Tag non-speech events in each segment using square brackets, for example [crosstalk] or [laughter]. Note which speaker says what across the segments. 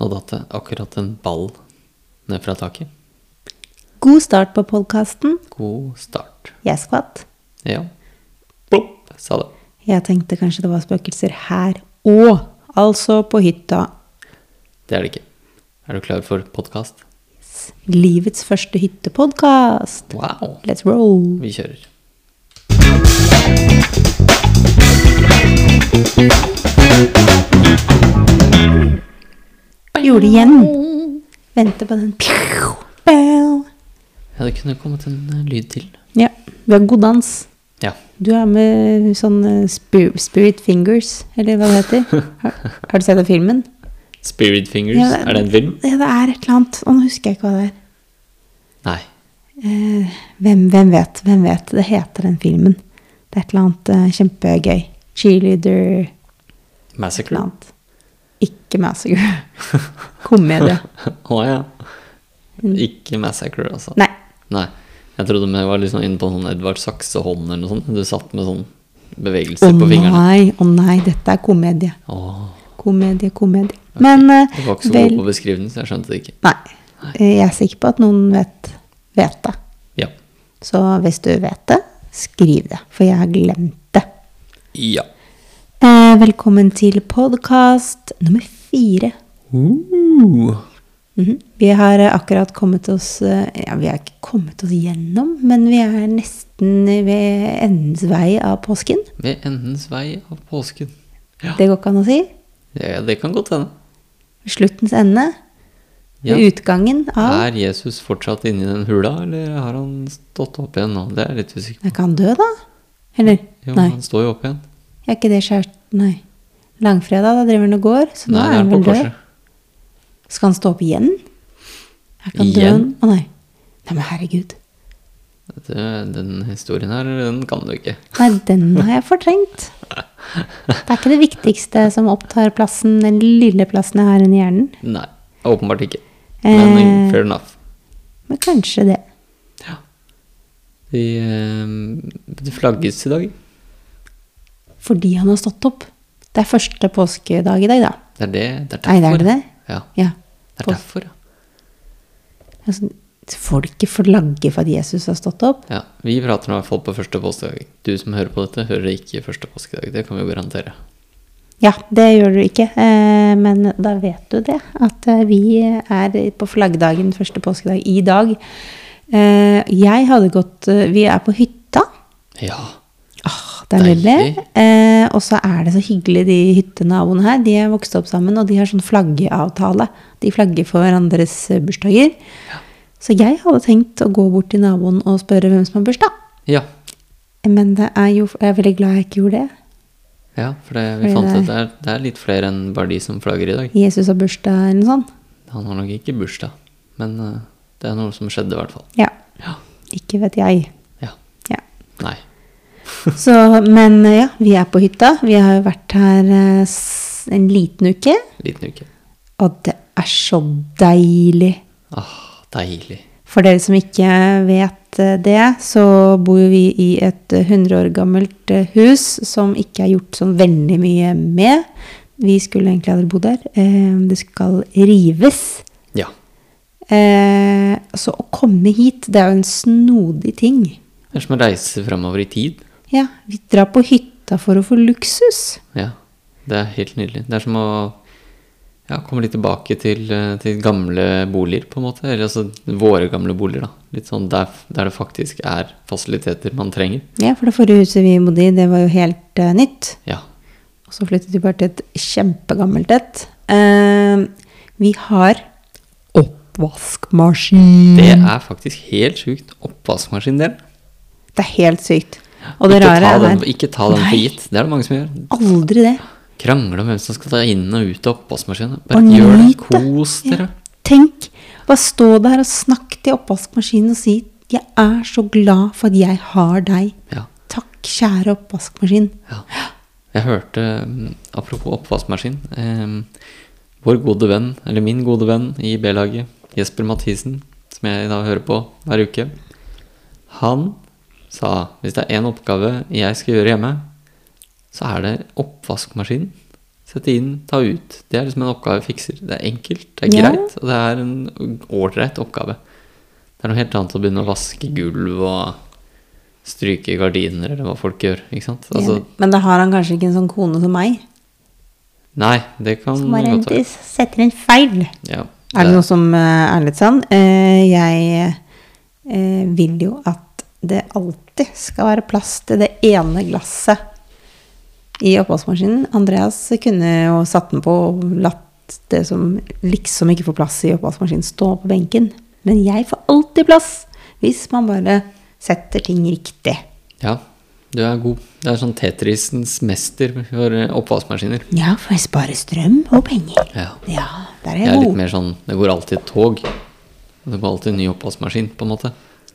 Speaker 1: Nå datt det akkurat en ball ned fra taket.
Speaker 2: God start på podkasten.
Speaker 1: God start.
Speaker 2: Jeg skvatt.
Speaker 1: Ja. Plopp, sa det.
Speaker 2: Jeg tenkte kanskje det var spøkelser her òg. Altså på hytta.
Speaker 1: Det er det ikke. Er du klar for podkast?
Speaker 2: Livets første hyttepodkast.
Speaker 1: Wow.
Speaker 2: Let's roll.
Speaker 1: Vi kjører.
Speaker 2: Gjorde det igjen. Vente på den. Pew, pew.
Speaker 1: Ja, det kunne kommet en eh, lyd til.
Speaker 2: Ja. Vi har god dans.
Speaker 1: Ja.
Speaker 2: Du er med sånn eh, spi- spirit fingers, eller hva
Speaker 1: [laughs]
Speaker 2: det heter. Har, har du sett den filmen?
Speaker 1: Spirit Fingers.
Speaker 2: Ja, det-
Speaker 1: Er det en film?
Speaker 2: Ja, det er et eller annet. Og nå husker jeg ikke hva det er.
Speaker 1: Nei.
Speaker 2: Eh, hvem, hvem vet, hvem vet. Det heter den filmen. Det er et eller annet eh, kjempegøy. Cheerleader, et eller
Speaker 1: Massacre.
Speaker 2: annet. Ikke Massacre. Komedie.
Speaker 1: [laughs] Å ja. Ikke Massacre, altså.
Speaker 2: Mm. Nei.
Speaker 1: Nei. Jeg trodde vi var liksom inne på sånn Edvard Saksehånd eller noe sånt. Du satt med sånn
Speaker 2: Å
Speaker 1: bevegelser på fingrene.
Speaker 2: nei, å nei, dette er komedie.
Speaker 1: Åh,
Speaker 2: Komedie, komedie. Men eh,
Speaker 1: du var ikke så god
Speaker 2: vel
Speaker 1: på beskrivelsen, så jeg skjønte det ikke.
Speaker 2: Nei. Eh, Jeg er sikker på at noen vet, vet det.
Speaker 1: Ja.
Speaker 2: Så hvis du vet det, skriv det. For jeg har glemt det.
Speaker 1: Ja.
Speaker 2: Eh, velkommen til podkast nummer fire.
Speaker 1: Uh.
Speaker 2: Mhm. Vi har eh, akkurat kommet oss eh, Ja, vi har ikke kommet oss gjennom, men vi er nesten ved endens vei av påsken.
Speaker 1: Ved endens vei av påsken. Ja,
Speaker 2: Det går ikke an å si.
Speaker 1: det, det kan godt hende.
Speaker 2: Sluttens ende.
Speaker 1: Ja.
Speaker 2: Utgangen av
Speaker 1: Er Jesus fortsatt inni den hula, eller har han stått opp igjen nå? Det er jeg litt usikker på.
Speaker 2: Er ikke han død, da? Eller?
Speaker 1: Jo,
Speaker 2: nei.
Speaker 1: han står jo opp igjen.
Speaker 2: Er ikke det skjært Nei. Langfredag, da driver han og går, så nå
Speaker 1: Nei, han
Speaker 2: er han
Speaker 1: på
Speaker 2: vel død.
Speaker 1: korset.
Speaker 2: Skal han stå opp igjen? Er ikke han død?
Speaker 1: Igjen?
Speaker 2: Å nei. Nei, men herregud.
Speaker 1: Det, den historien her, den kan du ikke.
Speaker 2: Nei, den har jeg fortrengt. Det er ikke det viktigste som opptar plassen, den lille plassen jeg har inni hjernen.
Speaker 1: Nei, åpenbart ikke. Men
Speaker 2: Eh.
Speaker 1: fair enough.
Speaker 2: Men kanskje det.
Speaker 1: Ja. De, eh, det flagges i dag.
Speaker 2: Fordi han har stått opp. Det er første påskedag i dag, da.
Speaker 1: Det er det. Det er
Speaker 2: Nei, det er
Speaker 1: derfor.
Speaker 2: det det?
Speaker 1: Ja,
Speaker 2: Ja.
Speaker 1: det er
Speaker 2: Pås-
Speaker 1: derfor, ja.
Speaker 2: Altså, folket flagger for at Jesus har stått opp.
Speaker 1: ja. Vi prater nå i hvert fall på første påskedag. Du som hører på dette, hører ikke første påskedag. Det kan vi jo garantere.
Speaker 2: Ja, det gjør du ikke, eh, men da vet du det. At eh, vi er på flaggdagen første påskedag i dag. Eh, Jeg hadde gått eh, Vi er på hytta.
Speaker 1: Ja.
Speaker 2: Åh, det er nydelig.
Speaker 1: Deilig.
Speaker 2: Eh, og så er det så hyggelig, de hyttenaboene her. De er vokst opp sammen, og de har sånn flaggeavtale. De flagger for hverandres eh, bursdager. Så jeg hadde tenkt å gå bort til naboen og spørre hvem som har bursdag.
Speaker 1: Ja.
Speaker 2: Men det er jo, jeg er veldig glad jeg ikke gjorde det.
Speaker 1: Ja, for det, vi
Speaker 2: Fordi
Speaker 1: fant
Speaker 2: det er-
Speaker 1: ut det er, det er litt flere enn bare de som flagger i dag.
Speaker 2: Jesus har bursdag eller noe sånt.
Speaker 1: Han har nok ikke bursdag, men eh, det er noe som skjedde i hvert fall.
Speaker 2: Ja.
Speaker 1: Ja.
Speaker 2: Ikke vet jeg.
Speaker 1: Ja.
Speaker 2: Ja.
Speaker 1: Nei.
Speaker 2: Så, men eh, ja, vi er på hytta. Vi har jo vært her eh, s- en liten uke,
Speaker 1: Liten uke.
Speaker 2: og det er så deilig.
Speaker 1: Ah, deilig.
Speaker 2: For dere som ikke vet eh, det, så bor jo vi i et eh, 100 år gammelt eh, hus som ikke er gjort sånn veldig mye med. Vi skulle egentlig aldri bo der. Eh, Det skal rives.
Speaker 1: Ja.
Speaker 2: Eh, Så å komme hit, det er jo en snodig ting.
Speaker 1: Det er som å reise fremover i tid.
Speaker 2: Ja, vi drar på hytta for å få luksus.
Speaker 1: Ja. Det er helt nydelig. Det er som å ja, komme litt tilbake til, eh, til gamle boliger, på en måte. Eller altså våre gamle boliger, da. Litt sånn der, der det faktisk er fasiliteter man trenger.
Speaker 2: Ja, for det forrige huset vi bodde i, det var jo helt eh, nytt.
Speaker 1: Ja.
Speaker 2: Og så flyttet vi bare til et kjempegammelt et. Eh, Vi har oppvaskmaskin.
Speaker 1: Det er faktisk helt sjukt. Oppvaskmaskindelen.
Speaker 2: Det er helt sykt. Og det
Speaker 1: ikke,
Speaker 2: rare
Speaker 1: ta
Speaker 2: er
Speaker 1: den, ikke ta den for
Speaker 2: Nei.
Speaker 1: gitt. Det er det mange som gjør.
Speaker 2: aldri det.
Speaker 1: Krangle om hvem som skal ta inn og ut av oppvaskmaskinen. Bare
Speaker 2: Og
Speaker 1: gjør det.
Speaker 2: nyt det.
Speaker 1: Kos dere.
Speaker 2: Tenk, bare stå der og snakk til oppvaskmaskinen og si 'Jeg er så glad for at jeg har deg'.
Speaker 1: Ja.
Speaker 2: Takk, kjære oppvaskmaskin.
Speaker 1: ja. Jeg hørte, mm, apropos oppvaskmaskin, eh, vår gode venn, eller min gode venn i B-laget, Jesper Mathisen, som jeg da hører på hver uke, han sa hvis det er én oppgave jeg skal gjøre hjemme, så er det oppvaskmaskinen. Så Sette inn, ta ut. Det er liksom en oppgave vi fikser. Det er enkelt, det er
Speaker 2: Ja.
Speaker 1: greit, og det er en ålreit oppgave. Det er noe helt annet å begynne å vaske gulv og stryke gardiner eller hva folk gjør. ikke sant? Altså,
Speaker 2: Men da har han kanskje ikke en sånn kone som meg.
Speaker 1: Nei, det kan
Speaker 2: Som bare
Speaker 1: godt være.
Speaker 2: setter en feil.
Speaker 1: Ja,
Speaker 2: Er det noe som eh, er litt sånn? Eh, Jeg eh, vil jo at det alltid skal være plass til det ene glasset i oppvaskmaskinen. Andreas kunne jo satt den på og latt det som liksom ikke får plass i oppvaskmaskinen, stå på benken. Men jeg får alltid plass hvis man bare setter ting riktig.
Speaker 1: Ja, du er god. Du er sånn Tetrisens mester for eh, oppvaskmaskiner.
Speaker 2: Ja, for jeg sparer strøm og penger.
Speaker 1: Ja.
Speaker 2: Ja, der er
Speaker 1: Jeg
Speaker 2: jeg
Speaker 1: er litt
Speaker 2: god.
Speaker 1: mer sånn Det går alltid et tog. Det går alltid en ny oppvaskmaskin, på en måte.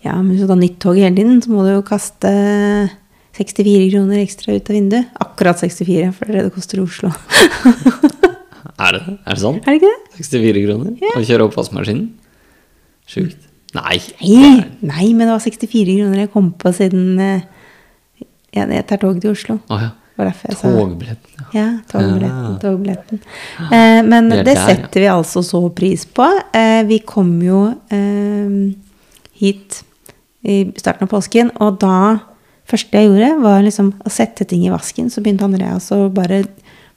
Speaker 2: Ja, men hvis du tar nytt tog hele tiden, så må du jo kaste 64 kroner ekstra ut av vinduet. Akkurat 64, for det er det det koster i Oslo. [laughs]
Speaker 1: Er det er det sånn?
Speaker 2: er det ikke det?
Speaker 1: 64 kroner å kjøre oppvaskmaskinen? Sjukt. Nei.
Speaker 2: Nei, nei, men det var 64 kroner jeg kom på siden eh, jeg, jeg tar tog til Oslo.
Speaker 1: Å ja.
Speaker 2: Det var derfor jeg sa
Speaker 1: Togbillett. Ja.
Speaker 2: Ja, togbilletten.
Speaker 1: Ja. Ah.
Speaker 2: togbilletten. Eh, men
Speaker 1: Det er
Speaker 2: det,
Speaker 1: der, ja.
Speaker 2: setter vi altså så pris på. Eh, vi kom jo eh, hit i starten av påsken, og da første jeg gjorde, var liksom å sette ting i vasken. Så begynte Andreas å bare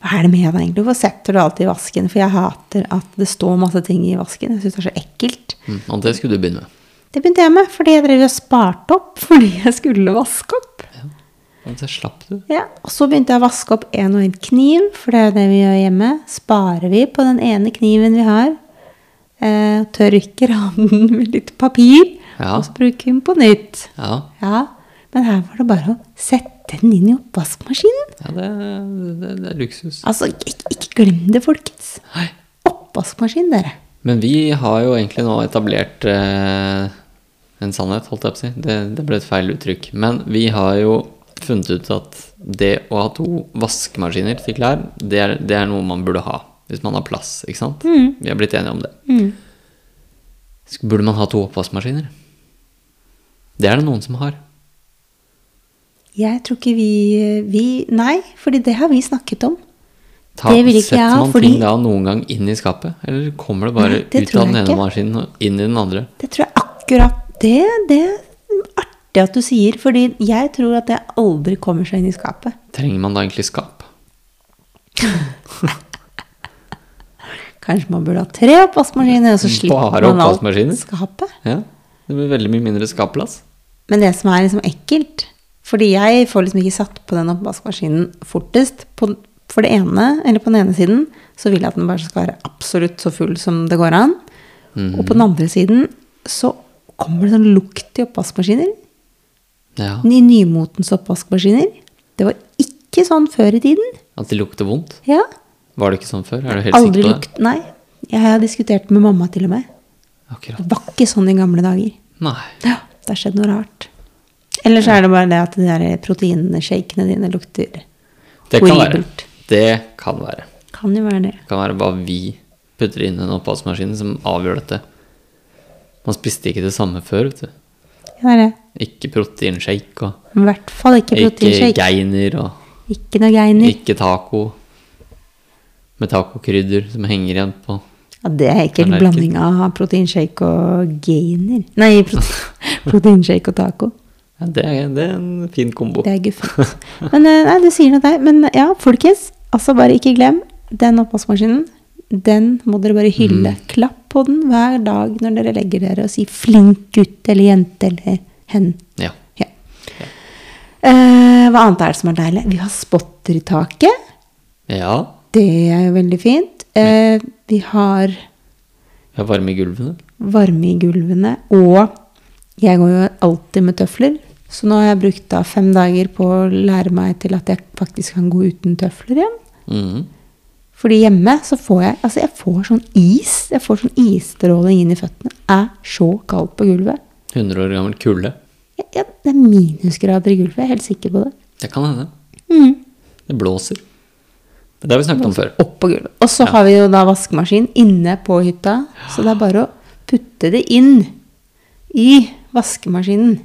Speaker 2: Hva er det med deg egentlig? Hvorfor setter du alt i vasken? For jeg hater at det står masse ting i vasken. Jeg syns det er så ekkelt.
Speaker 1: Mm, og det skulle du begynne med.
Speaker 2: Det begynte jeg med, fordi jeg drev og sparte opp [laughs] fordi jeg skulle vaske opp.
Speaker 1: Ja. Og det slapp du.
Speaker 2: Ja, og så begynte jeg å vaske opp en og en kniv, for det er jo det vi gjør hjemme. Sparer vi på den ene kniven vi har, eh, tørker av [laughs] den med litt papir,
Speaker 1: Ja.
Speaker 2: og så bruker vi den på nytt.
Speaker 1: Ja.
Speaker 2: Ja, men her var det bare å sette den inn i oppvaskmaskinen.
Speaker 1: ja det, det, det er luksus.
Speaker 2: Altså, ikke, ikke glem det, folkens.
Speaker 1: Nei.
Speaker 2: Oppvaskmaskin, dere.
Speaker 1: Men vi har jo egentlig nå etablert eh, en sannhet, holdt jeg på å si. Det, det ble et feil uttrykk. Men vi har jo funnet ut at det å ha to vaskemaskiner til klær, det er, det er noe man burde ha hvis man har plass, ikke sant?
Speaker 2: Mm.
Speaker 1: Vi har blitt enige om det. Sk- Burde man ha to oppvaskmaskiner? Det er det noen som har.
Speaker 2: Jeg tror ikke vi, vi Nei, fordi det har vi snakket om.
Speaker 1: Ta,
Speaker 2: Det vil ikke
Speaker 1: setter
Speaker 2: jeg ha,
Speaker 1: man
Speaker 2: fordi-
Speaker 1: ting da noen gang inn i skapet, eller kommer det bare
Speaker 2: Nei, det
Speaker 1: ut
Speaker 2: tror
Speaker 1: av den
Speaker 2: jeg
Speaker 1: ene
Speaker 2: ikke.
Speaker 1: maskinen og inn i den andre?
Speaker 2: Det tror jeg akkurat det. Det er artig at du sier, fordi jeg tror at det aldri kommer seg inn i skapet.
Speaker 1: Trenger man da egentlig skap?
Speaker 2: Kanskje man burde ha tre oppvaskmaskiner, og så slipper
Speaker 1: Bare
Speaker 2: man
Speaker 1: oppvaskmaskiner?
Speaker 2: alt skapet.
Speaker 1: Ja, det blir veldig mye mindre skapplass.
Speaker 2: Men det som er liksom ekkelt Fordi jeg får liksom ikke satt på den oppvaskmaskinen fortest. På, for det ene, eller på den ene siden, så vil jeg at den bare skal være absolutt så full som det går an.
Speaker 1: Mhm.
Speaker 2: Og på den andre siden så kommer det sånn lukt i oppvaskmaskiner.
Speaker 1: Ja,
Speaker 2: I nymotens oppvaskmaskiner. Det var ikke sånn før i tiden.
Speaker 1: At det lukter vondt?
Speaker 2: Ja,
Speaker 1: Var det ikke sånn før? Er du helt sikker
Speaker 2: Aldri
Speaker 1: på det?
Speaker 2: lukt Nei. Jeg har diskutert med mamma til og med. Det
Speaker 1: Akkurat.
Speaker 2: var ikke sånn i gamle dager.
Speaker 1: Nei.
Speaker 2: Ja, det har skjedd noe rart. Eller så er det bare det at de der proteinshakene dine lukter
Speaker 1: Det kan være.
Speaker 2: horribelt.
Speaker 1: Det kan være.
Speaker 2: Kan jo være det.
Speaker 1: Det kan være hva vi putter inn i en oppvaskmaskin som avgjør dette. Man spiste ikke det samme før, vet du.
Speaker 2: Ja, det er det.
Speaker 1: Ikke proteinshake og
Speaker 2: Men I hvert fall ikke
Speaker 1: ikke
Speaker 2: proteinshake.
Speaker 1: geiner og
Speaker 2: Ikke noe geiner.
Speaker 1: ikke taco. Med tacokrydder som henger igjen på
Speaker 2: Ja, det er ikke en
Speaker 1: Tallerken.
Speaker 2: blanding av proteinshake og gainer. Nei, prote- [laughs] proteinshake og taco.
Speaker 1: ja, det, er, det er en fin kombo.
Speaker 2: Det er guffent. Men eh, nei, du sier noe der. Men ja, folkens, altså bare ikke glem den oppvaskmaskinen. Den må dere bare hylle. Klapp på den hver dag når dere legger dere, og si 'flink gutt' eller 'jente' eller 'hen'.
Speaker 1: Ja.
Speaker 2: Ja. Eh, hva annet er det som er deilig? Vi har spotter i taket.
Speaker 1: ja.
Speaker 2: Det er jo veldig fint. Eh, vi har
Speaker 1: Vi har varme i gulvene.
Speaker 2: varme i gulvene, og jeg går jo alltid med tøfler. Så nå har jeg brukt da fem dager på å lære meg til at jeg faktisk kan gå uten tøfler igjen.
Speaker 1: Mhm.
Speaker 2: Fordi hjemme så får jeg altså jeg får sånn is. Jeg får sånn isstråling inn i føttene. Det er så kaldt på gulvet.
Speaker 1: 100 år gammel kulde.
Speaker 2: Jeg, jeg, det er minusgrader i gulvet. Jeg er helt sikker på det.
Speaker 1: Det kan hende.
Speaker 2: Mm.
Speaker 1: Det blåser. Men det har vi snakket om før.
Speaker 2: Opp på gulvet. Og så har vi jo da vaskemaskin inne på hytta. Så det er bare å putte det inn i vaskemaskinen.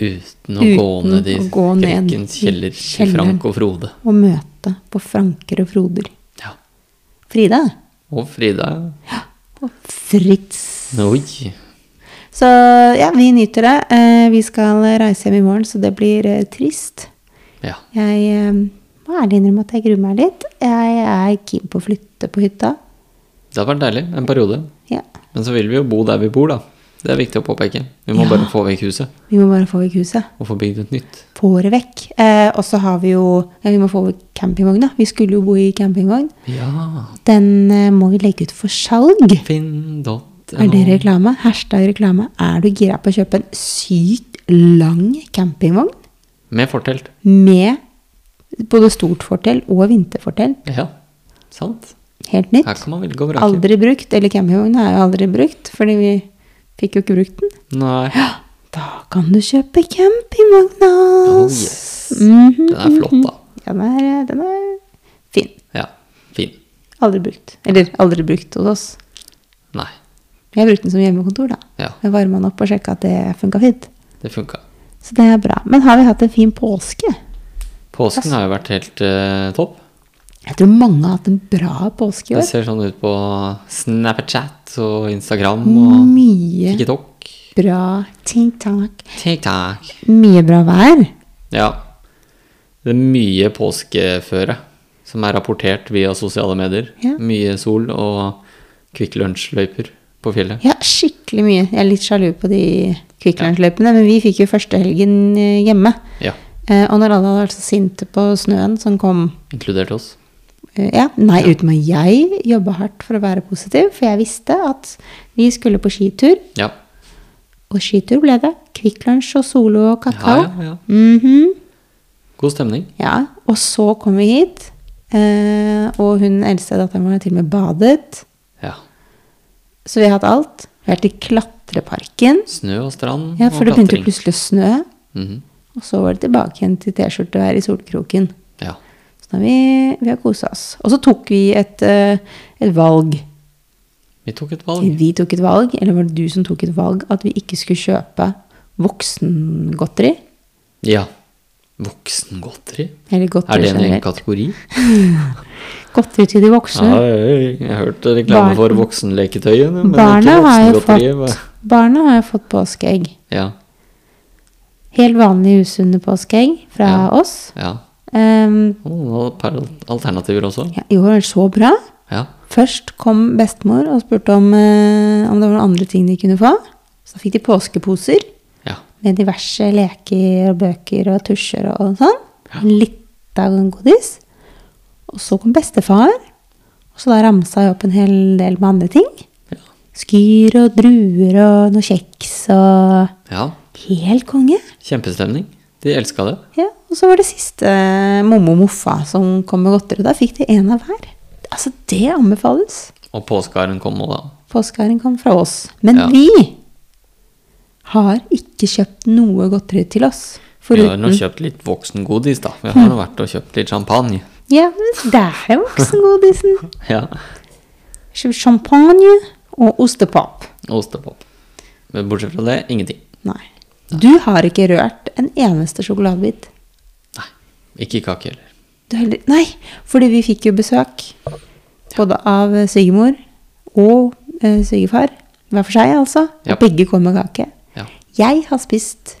Speaker 1: Uten å
Speaker 2: Uten
Speaker 1: gå ned i
Speaker 2: å gå ned
Speaker 1: skrekkens kjeller
Speaker 2: i
Speaker 1: til
Speaker 2: kjelleren.
Speaker 1: Frank og Frode.
Speaker 2: Og møte på Franker og Froder.
Speaker 1: Ja.
Speaker 2: Frida
Speaker 1: Og Frida.
Speaker 2: og Fritz.
Speaker 1: Oi.
Speaker 2: Så ja, vi nyter det. Eh, Vi skal reise hjem i morgen, så det blir eh, trist.
Speaker 1: Ja.
Speaker 2: Jeg eh, må ærlig innrømme at jeg gruer meg litt. Jeg er keen på å flytte på hytta.
Speaker 1: Det har vært deilig en periode.
Speaker 2: Ja,
Speaker 1: Men så vil vi jo bo der vi bor, da. Det er viktig å påpeke. Vi må
Speaker 2: Ja.
Speaker 1: bare få vekk huset
Speaker 2: Vi må bare få vekk huset.
Speaker 1: og få bygd et nytt.
Speaker 2: Få det vekk. Eh, og så har vi jo ja, Vi må få vekk campingvogna. Vi skulle jo bo i campingvogn.
Speaker 1: Ja.
Speaker 2: Den eh, må vi legge ut for salg.
Speaker 1: Finn.no.
Speaker 2: Er
Speaker 1: eh,
Speaker 2: det reklame? Hashtag reklame. Er du gira på å kjøpe en sykt lang campingvogn
Speaker 1: Med fortelt.
Speaker 2: med både stort fortell og vinterfortell?
Speaker 1: Ja, sant.
Speaker 2: Helt
Speaker 1: Her
Speaker 2: nytt.
Speaker 1: kan man velge og vrake.
Speaker 2: Aldri brukt. Eller campingvogna er jo aldri brukt, fordi vi fikk jo ikke brukt den. Ah,
Speaker 1: Nei.
Speaker 2: Da kan du kjøpe campingvogna!
Speaker 1: Oh, yes.
Speaker 2: Mhm,
Speaker 1: Den er flott, da.
Speaker 2: mhm. Ja, den er, den er fin.
Speaker 1: Ja. Fin.
Speaker 2: Aldri brukt. Eller aldri brukt hos oss.
Speaker 1: Nei.
Speaker 2: Jeg brukte den som hjemmekontor, da.
Speaker 1: Ja,
Speaker 2: Jeg varma den opp og sjekka at det funka fint.
Speaker 1: det funka.
Speaker 2: Så det er bra. Men har vi hatt en fin påske?
Speaker 1: Påsken har jo vært helt eh, topp.
Speaker 2: Jeg tror mange har hatt en bra påske i
Speaker 1: Det
Speaker 2: år.
Speaker 1: ser sånn ut på Snapchat og Instagram og
Speaker 2: Mye
Speaker 1: TikTok.
Speaker 2: bra ting-tak.
Speaker 1: TikTok.
Speaker 2: Mye bra vær.
Speaker 1: Ja. Det er mye påskeføre som er rapportert via sosiale medier.
Speaker 2: Ja.
Speaker 1: Mye sol og Kvikk Lunsj-løyper på fjellet.
Speaker 2: Ja, skikkelig mye. Jeg er litt sjalu på de Kvikk Lunsj-løypene, men vi fikk jo første helgen eh, hjemme.
Speaker 1: Ja,
Speaker 2: Eh, Og når alle hadde vært så sinte på snøen som kom
Speaker 1: inkludert oss.
Speaker 2: eh, ja, Nei, utenom at jeg jobba hardt for å være positiv, for jeg visste at vi skulle på skitur,
Speaker 1: Ja.
Speaker 2: og skitur ble det. Kvikk Lunsj og Solo og
Speaker 1: Ja,
Speaker 2: kakao.
Speaker 1: ja, ja.
Speaker 2: Mhm.
Speaker 1: God stemning.
Speaker 2: Ja, og så kom vi hit, eh, og hun eldste datteren vår har til og med badet.
Speaker 1: Ja.
Speaker 2: Så vi har hatt alt. Vi har vært i klatreparken,
Speaker 1: Snø og strand
Speaker 2: ja, for
Speaker 1: og
Speaker 2: det begynte jo
Speaker 1: klatring.
Speaker 2: plutselig å snø.
Speaker 1: Mhm.
Speaker 2: Og så var det tilbake igjen til T-skjortevær i solkroken.
Speaker 1: Ja.
Speaker 2: Så da har vi, vi har kosa oss. Og så tok vi et, eh, et valg.
Speaker 1: Vi tok et valg.
Speaker 2: Vi tok et valg, eller var det du som tok et valg, at vi ikke skulle kjøpe voksengodteri?
Speaker 1: Ja. Voksengodteri?
Speaker 2: Eller
Speaker 1: Er
Speaker 2: godteri
Speaker 1: det en egen
Speaker 2: generelt.
Speaker 1: kategori?
Speaker 2: Godteri til de voksne.
Speaker 1: Nei, jeg hørte reklame
Speaker 2: Barn-
Speaker 1: for voksenleketøyet, men
Speaker 2: Barna
Speaker 1: ikke
Speaker 2: har jo
Speaker 1: voksengodteriet.
Speaker 2: fått,
Speaker 1: hva-
Speaker 2: barna har jo fått påskeegg.
Speaker 1: Ja,
Speaker 2: Helt vanlige usunne påskeegg fra
Speaker 1: Ja.
Speaker 2: oss.
Speaker 1: ja.
Speaker 2: Ehm,
Speaker 1: Og noen par- alternativer også.
Speaker 2: ja, jo, det var så bra.
Speaker 1: Ja.
Speaker 2: Først kom bestemor og spurte om, eh, om det var noen andre ting de kunne få. Så fikk de påskeposer
Speaker 1: ja.
Speaker 2: med diverse leker og bøker og tusjer og sånn. Litt av en godis. Og så kom bestefar, og så da ramsa jeg opp en hel del med andre ting.
Speaker 1: Ja.
Speaker 2: Skyr og druer og noe kjeks og
Speaker 1: ja.
Speaker 2: Helt konge.
Speaker 1: Kjempestemning. De elska det.
Speaker 2: Ja, og så var det siste eh, mommo og moffa som kom med godteri. og Da fikk de én av hver. Altså, det anbefales.
Speaker 1: Og påskeharen kom, og da
Speaker 2: Påskeharen kom fra oss. Men
Speaker 1: Ja.
Speaker 2: vi har ikke kjøpt noe godteri til oss.
Speaker 1: Vi har
Speaker 2: Foruten
Speaker 1: nå kjøpt litt voksengodis, da. Vi har nå vært og kjøpt litt champagne.
Speaker 2: Ja, men det er jo voksengodisen.
Speaker 1: Ja.
Speaker 2: Kjøpt Champagne og ostepop.
Speaker 1: Og ostepop. Men bortsett fra det, ingenting.
Speaker 2: Nei. Du har ikke rørt en eneste sjokoladebit.
Speaker 1: Nei. Ikke kake heller.
Speaker 2: Du heller, nei, fordi vi fikk jo besøk både av eh, svigermor og eh, svigerfar. Hver for seg, altså.
Speaker 1: Ja.
Speaker 2: Og begge kom med kake.
Speaker 1: Ja.
Speaker 2: Jeg har spist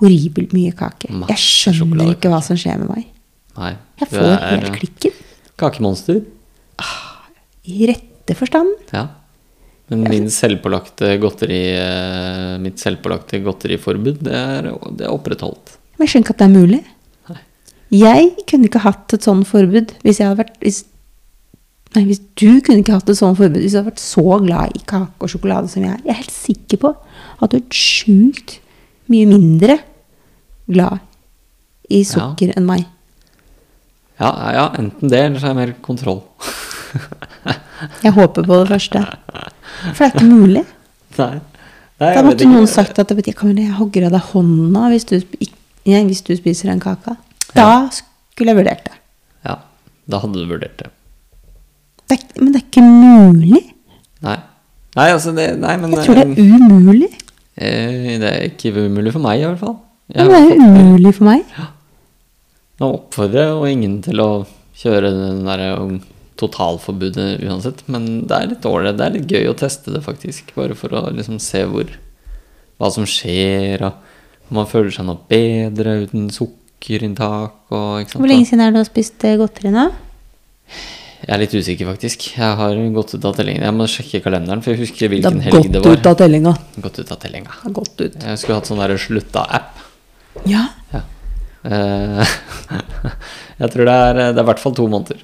Speaker 2: horribelt mye kake.
Speaker 1: Masse
Speaker 2: Jeg skjønner
Speaker 1: sjokoladekake.
Speaker 2: ikke hva som skjer med meg.
Speaker 1: Nei.
Speaker 2: Jeg
Speaker 1: du
Speaker 2: får
Speaker 1: er,
Speaker 2: helt
Speaker 1: eh,
Speaker 2: klikken.
Speaker 1: Kakemonster.
Speaker 2: I rette forstand.
Speaker 1: Ja. Men min selvpålagte godteri, eh, mitt selvpålagte godteriforbud, det er, det er opprettholdt.
Speaker 2: Men jeg skjønner ikke at det er mulig.
Speaker 1: Nei.
Speaker 2: Jeg kunne ikke hatt et sånn forbud hvis jeg hadde vært hvis, Nei, hvis du kunne ikke hatt et sånn forbud hvis du hadde vært så glad i kake og sjokolade som jeg er. Jeg er helt sikker på at du er sjukt mye mindre glad i sukker enn meg.
Speaker 1: Ja, ja, enten det, eller så er det mer kontroll. [laughs]
Speaker 2: Jeg håper på det første. For det er ikke mulig.
Speaker 1: Nei. Nei,
Speaker 2: Da
Speaker 1: jeg vet
Speaker 2: måtte
Speaker 1: ikke.
Speaker 2: noen sagt at det betyr, «Kamilla, jeg hogger av deg hånda hvis du, sp- ikk- nei, hvis du spiser den kaka. Da skulle jeg vurdert det.
Speaker 1: Ja, da hadde du vurdert det.
Speaker 2: det er, ikke- men det er ikke mulig.
Speaker 1: Nei. Nei, altså, det, nei, men
Speaker 2: Jeg tror det er umulig.
Speaker 1: eh, det er ikke umulig for meg, i hvert fall.
Speaker 2: Det
Speaker 1: Jeg,
Speaker 2: er jo umulig for meg.
Speaker 1: nå oppfordrer jeg jo ingen til å kjøre den derre totalforbudet uansett, men det er litt ålreit. Det er litt gøy å teste det, faktisk. Bare for å liksom se hvor hva som skjer, og om man føler seg noe bedre uten sukkerinntak og ikke sant.
Speaker 2: Hvor lenge siden er det du har spist eh, godteri nå?
Speaker 1: Jeg er litt usikker, faktisk. Jeg har gått ut av tellingen. Jeg må sjekke kalenderen, for jeg husker
Speaker 2: Det
Speaker 1: hvilken
Speaker 2: har
Speaker 1: helg
Speaker 2: gått
Speaker 1: det var.
Speaker 2: ut av tellinga.
Speaker 1: Gått ut av tellinga.
Speaker 2: Det har gått ut.
Speaker 1: Jeg skulle hatt sånn der slutta-app.
Speaker 2: Ja.
Speaker 1: Ja. Eh, [laughs] jeg tror det er, det er i hvert fall to måneder.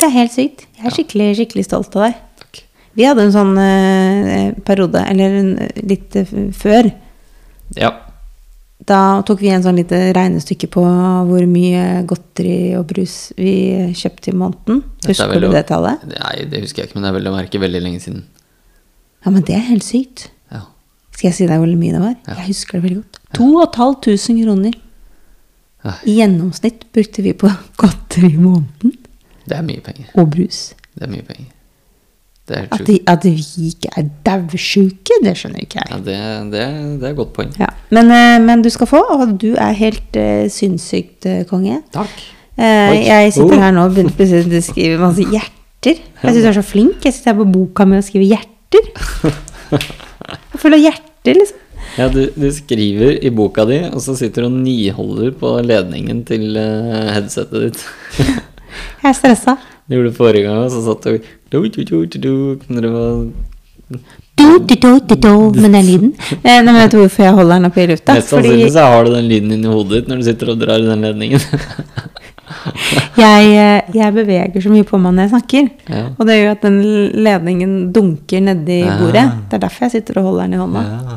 Speaker 2: Det er helt sykt. Jeg er skikkelig, skikkelig stolt av deg.
Speaker 1: Takk.
Speaker 2: Vi hadde en sånn eh, periode, eller en, litt eh, før.
Speaker 1: Ja.
Speaker 2: Da tok vi en sånn lite regnestykke på hvor mye godteri og brus vi kjøpte i måneden.
Speaker 1: Dette er
Speaker 2: Husker
Speaker 1: veldig-
Speaker 2: du det tallet?
Speaker 1: Nei, det husker jeg ikke, men det er vel å merke veldig lenge siden.
Speaker 2: Ja, men det er helt sykt.
Speaker 1: Ja.
Speaker 2: Skal jeg si deg hvor mye det var?
Speaker 1: Ja.
Speaker 2: Jeg husker det veldig godt. 2500 kroner
Speaker 1: Ja.
Speaker 2: i gjennomsnitt brukte vi på godteri i måneden.
Speaker 1: Det er mye penger.
Speaker 2: Og brus.
Speaker 1: Det er mye penger. Det er
Speaker 2: At,
Speaker 1: helt sjukt.
Speaker 2: de, at vi ikke er daudsjuke, det skjønner ikke jeg.
Speaker 1: Ja, det, det, det er et godt poeng.
Speaker 2: Ja, men, eh, men du skal få, og du er helt eh, sinnssykt eh, konge.
Speaker 1: Takk.
Speaker 2: Eh,
Speaker 1: Oi.
Speaker 2: jeg sitter
Speaker 1: Oh.
Speaker 2: her nå og begynner plutselig å skrive masse hjerter. Jeg syns du er så flink. Jeg sitter her på boka mi og skriver hjerter. Jeg føler hjerter, liksom.
Speaker 1: [laughs] Ja, du, du skriver i boka di, og så sitter du og niholder på ledningen til eh, headsetet ditt. [laughs]
Speaker 2: Jeg er stressa.
Speaker 1: Du gjorde det forrige gang, og så satt du du, du, du, du, du, når det var
Speaker 2: Du, du, du, du, du, med
Speaker 1: [laughs]
Speaker 2: den lyden. Eh, nei, men vet du hvorfor jeg holder den oppe i lufta?
Speaker 1: Mest
Speaker 2: Fordi
Speaker 1: sannsynlig så har du den lyden inni hodet ditt når du sitter og drar i den ledningen. [laughs]
Speaker 2: jeg, eh, jeg beveger så mye på meg når jeg snakker.
Speaker 1: Ja.
Speaker 2: Og det gjør at den ledningen dunker nedi
Speaker 1: Ah.
Speaker 2: bordet. Det er derfor jeg sitter og holder den i hånda.
Speaker 1: Ja.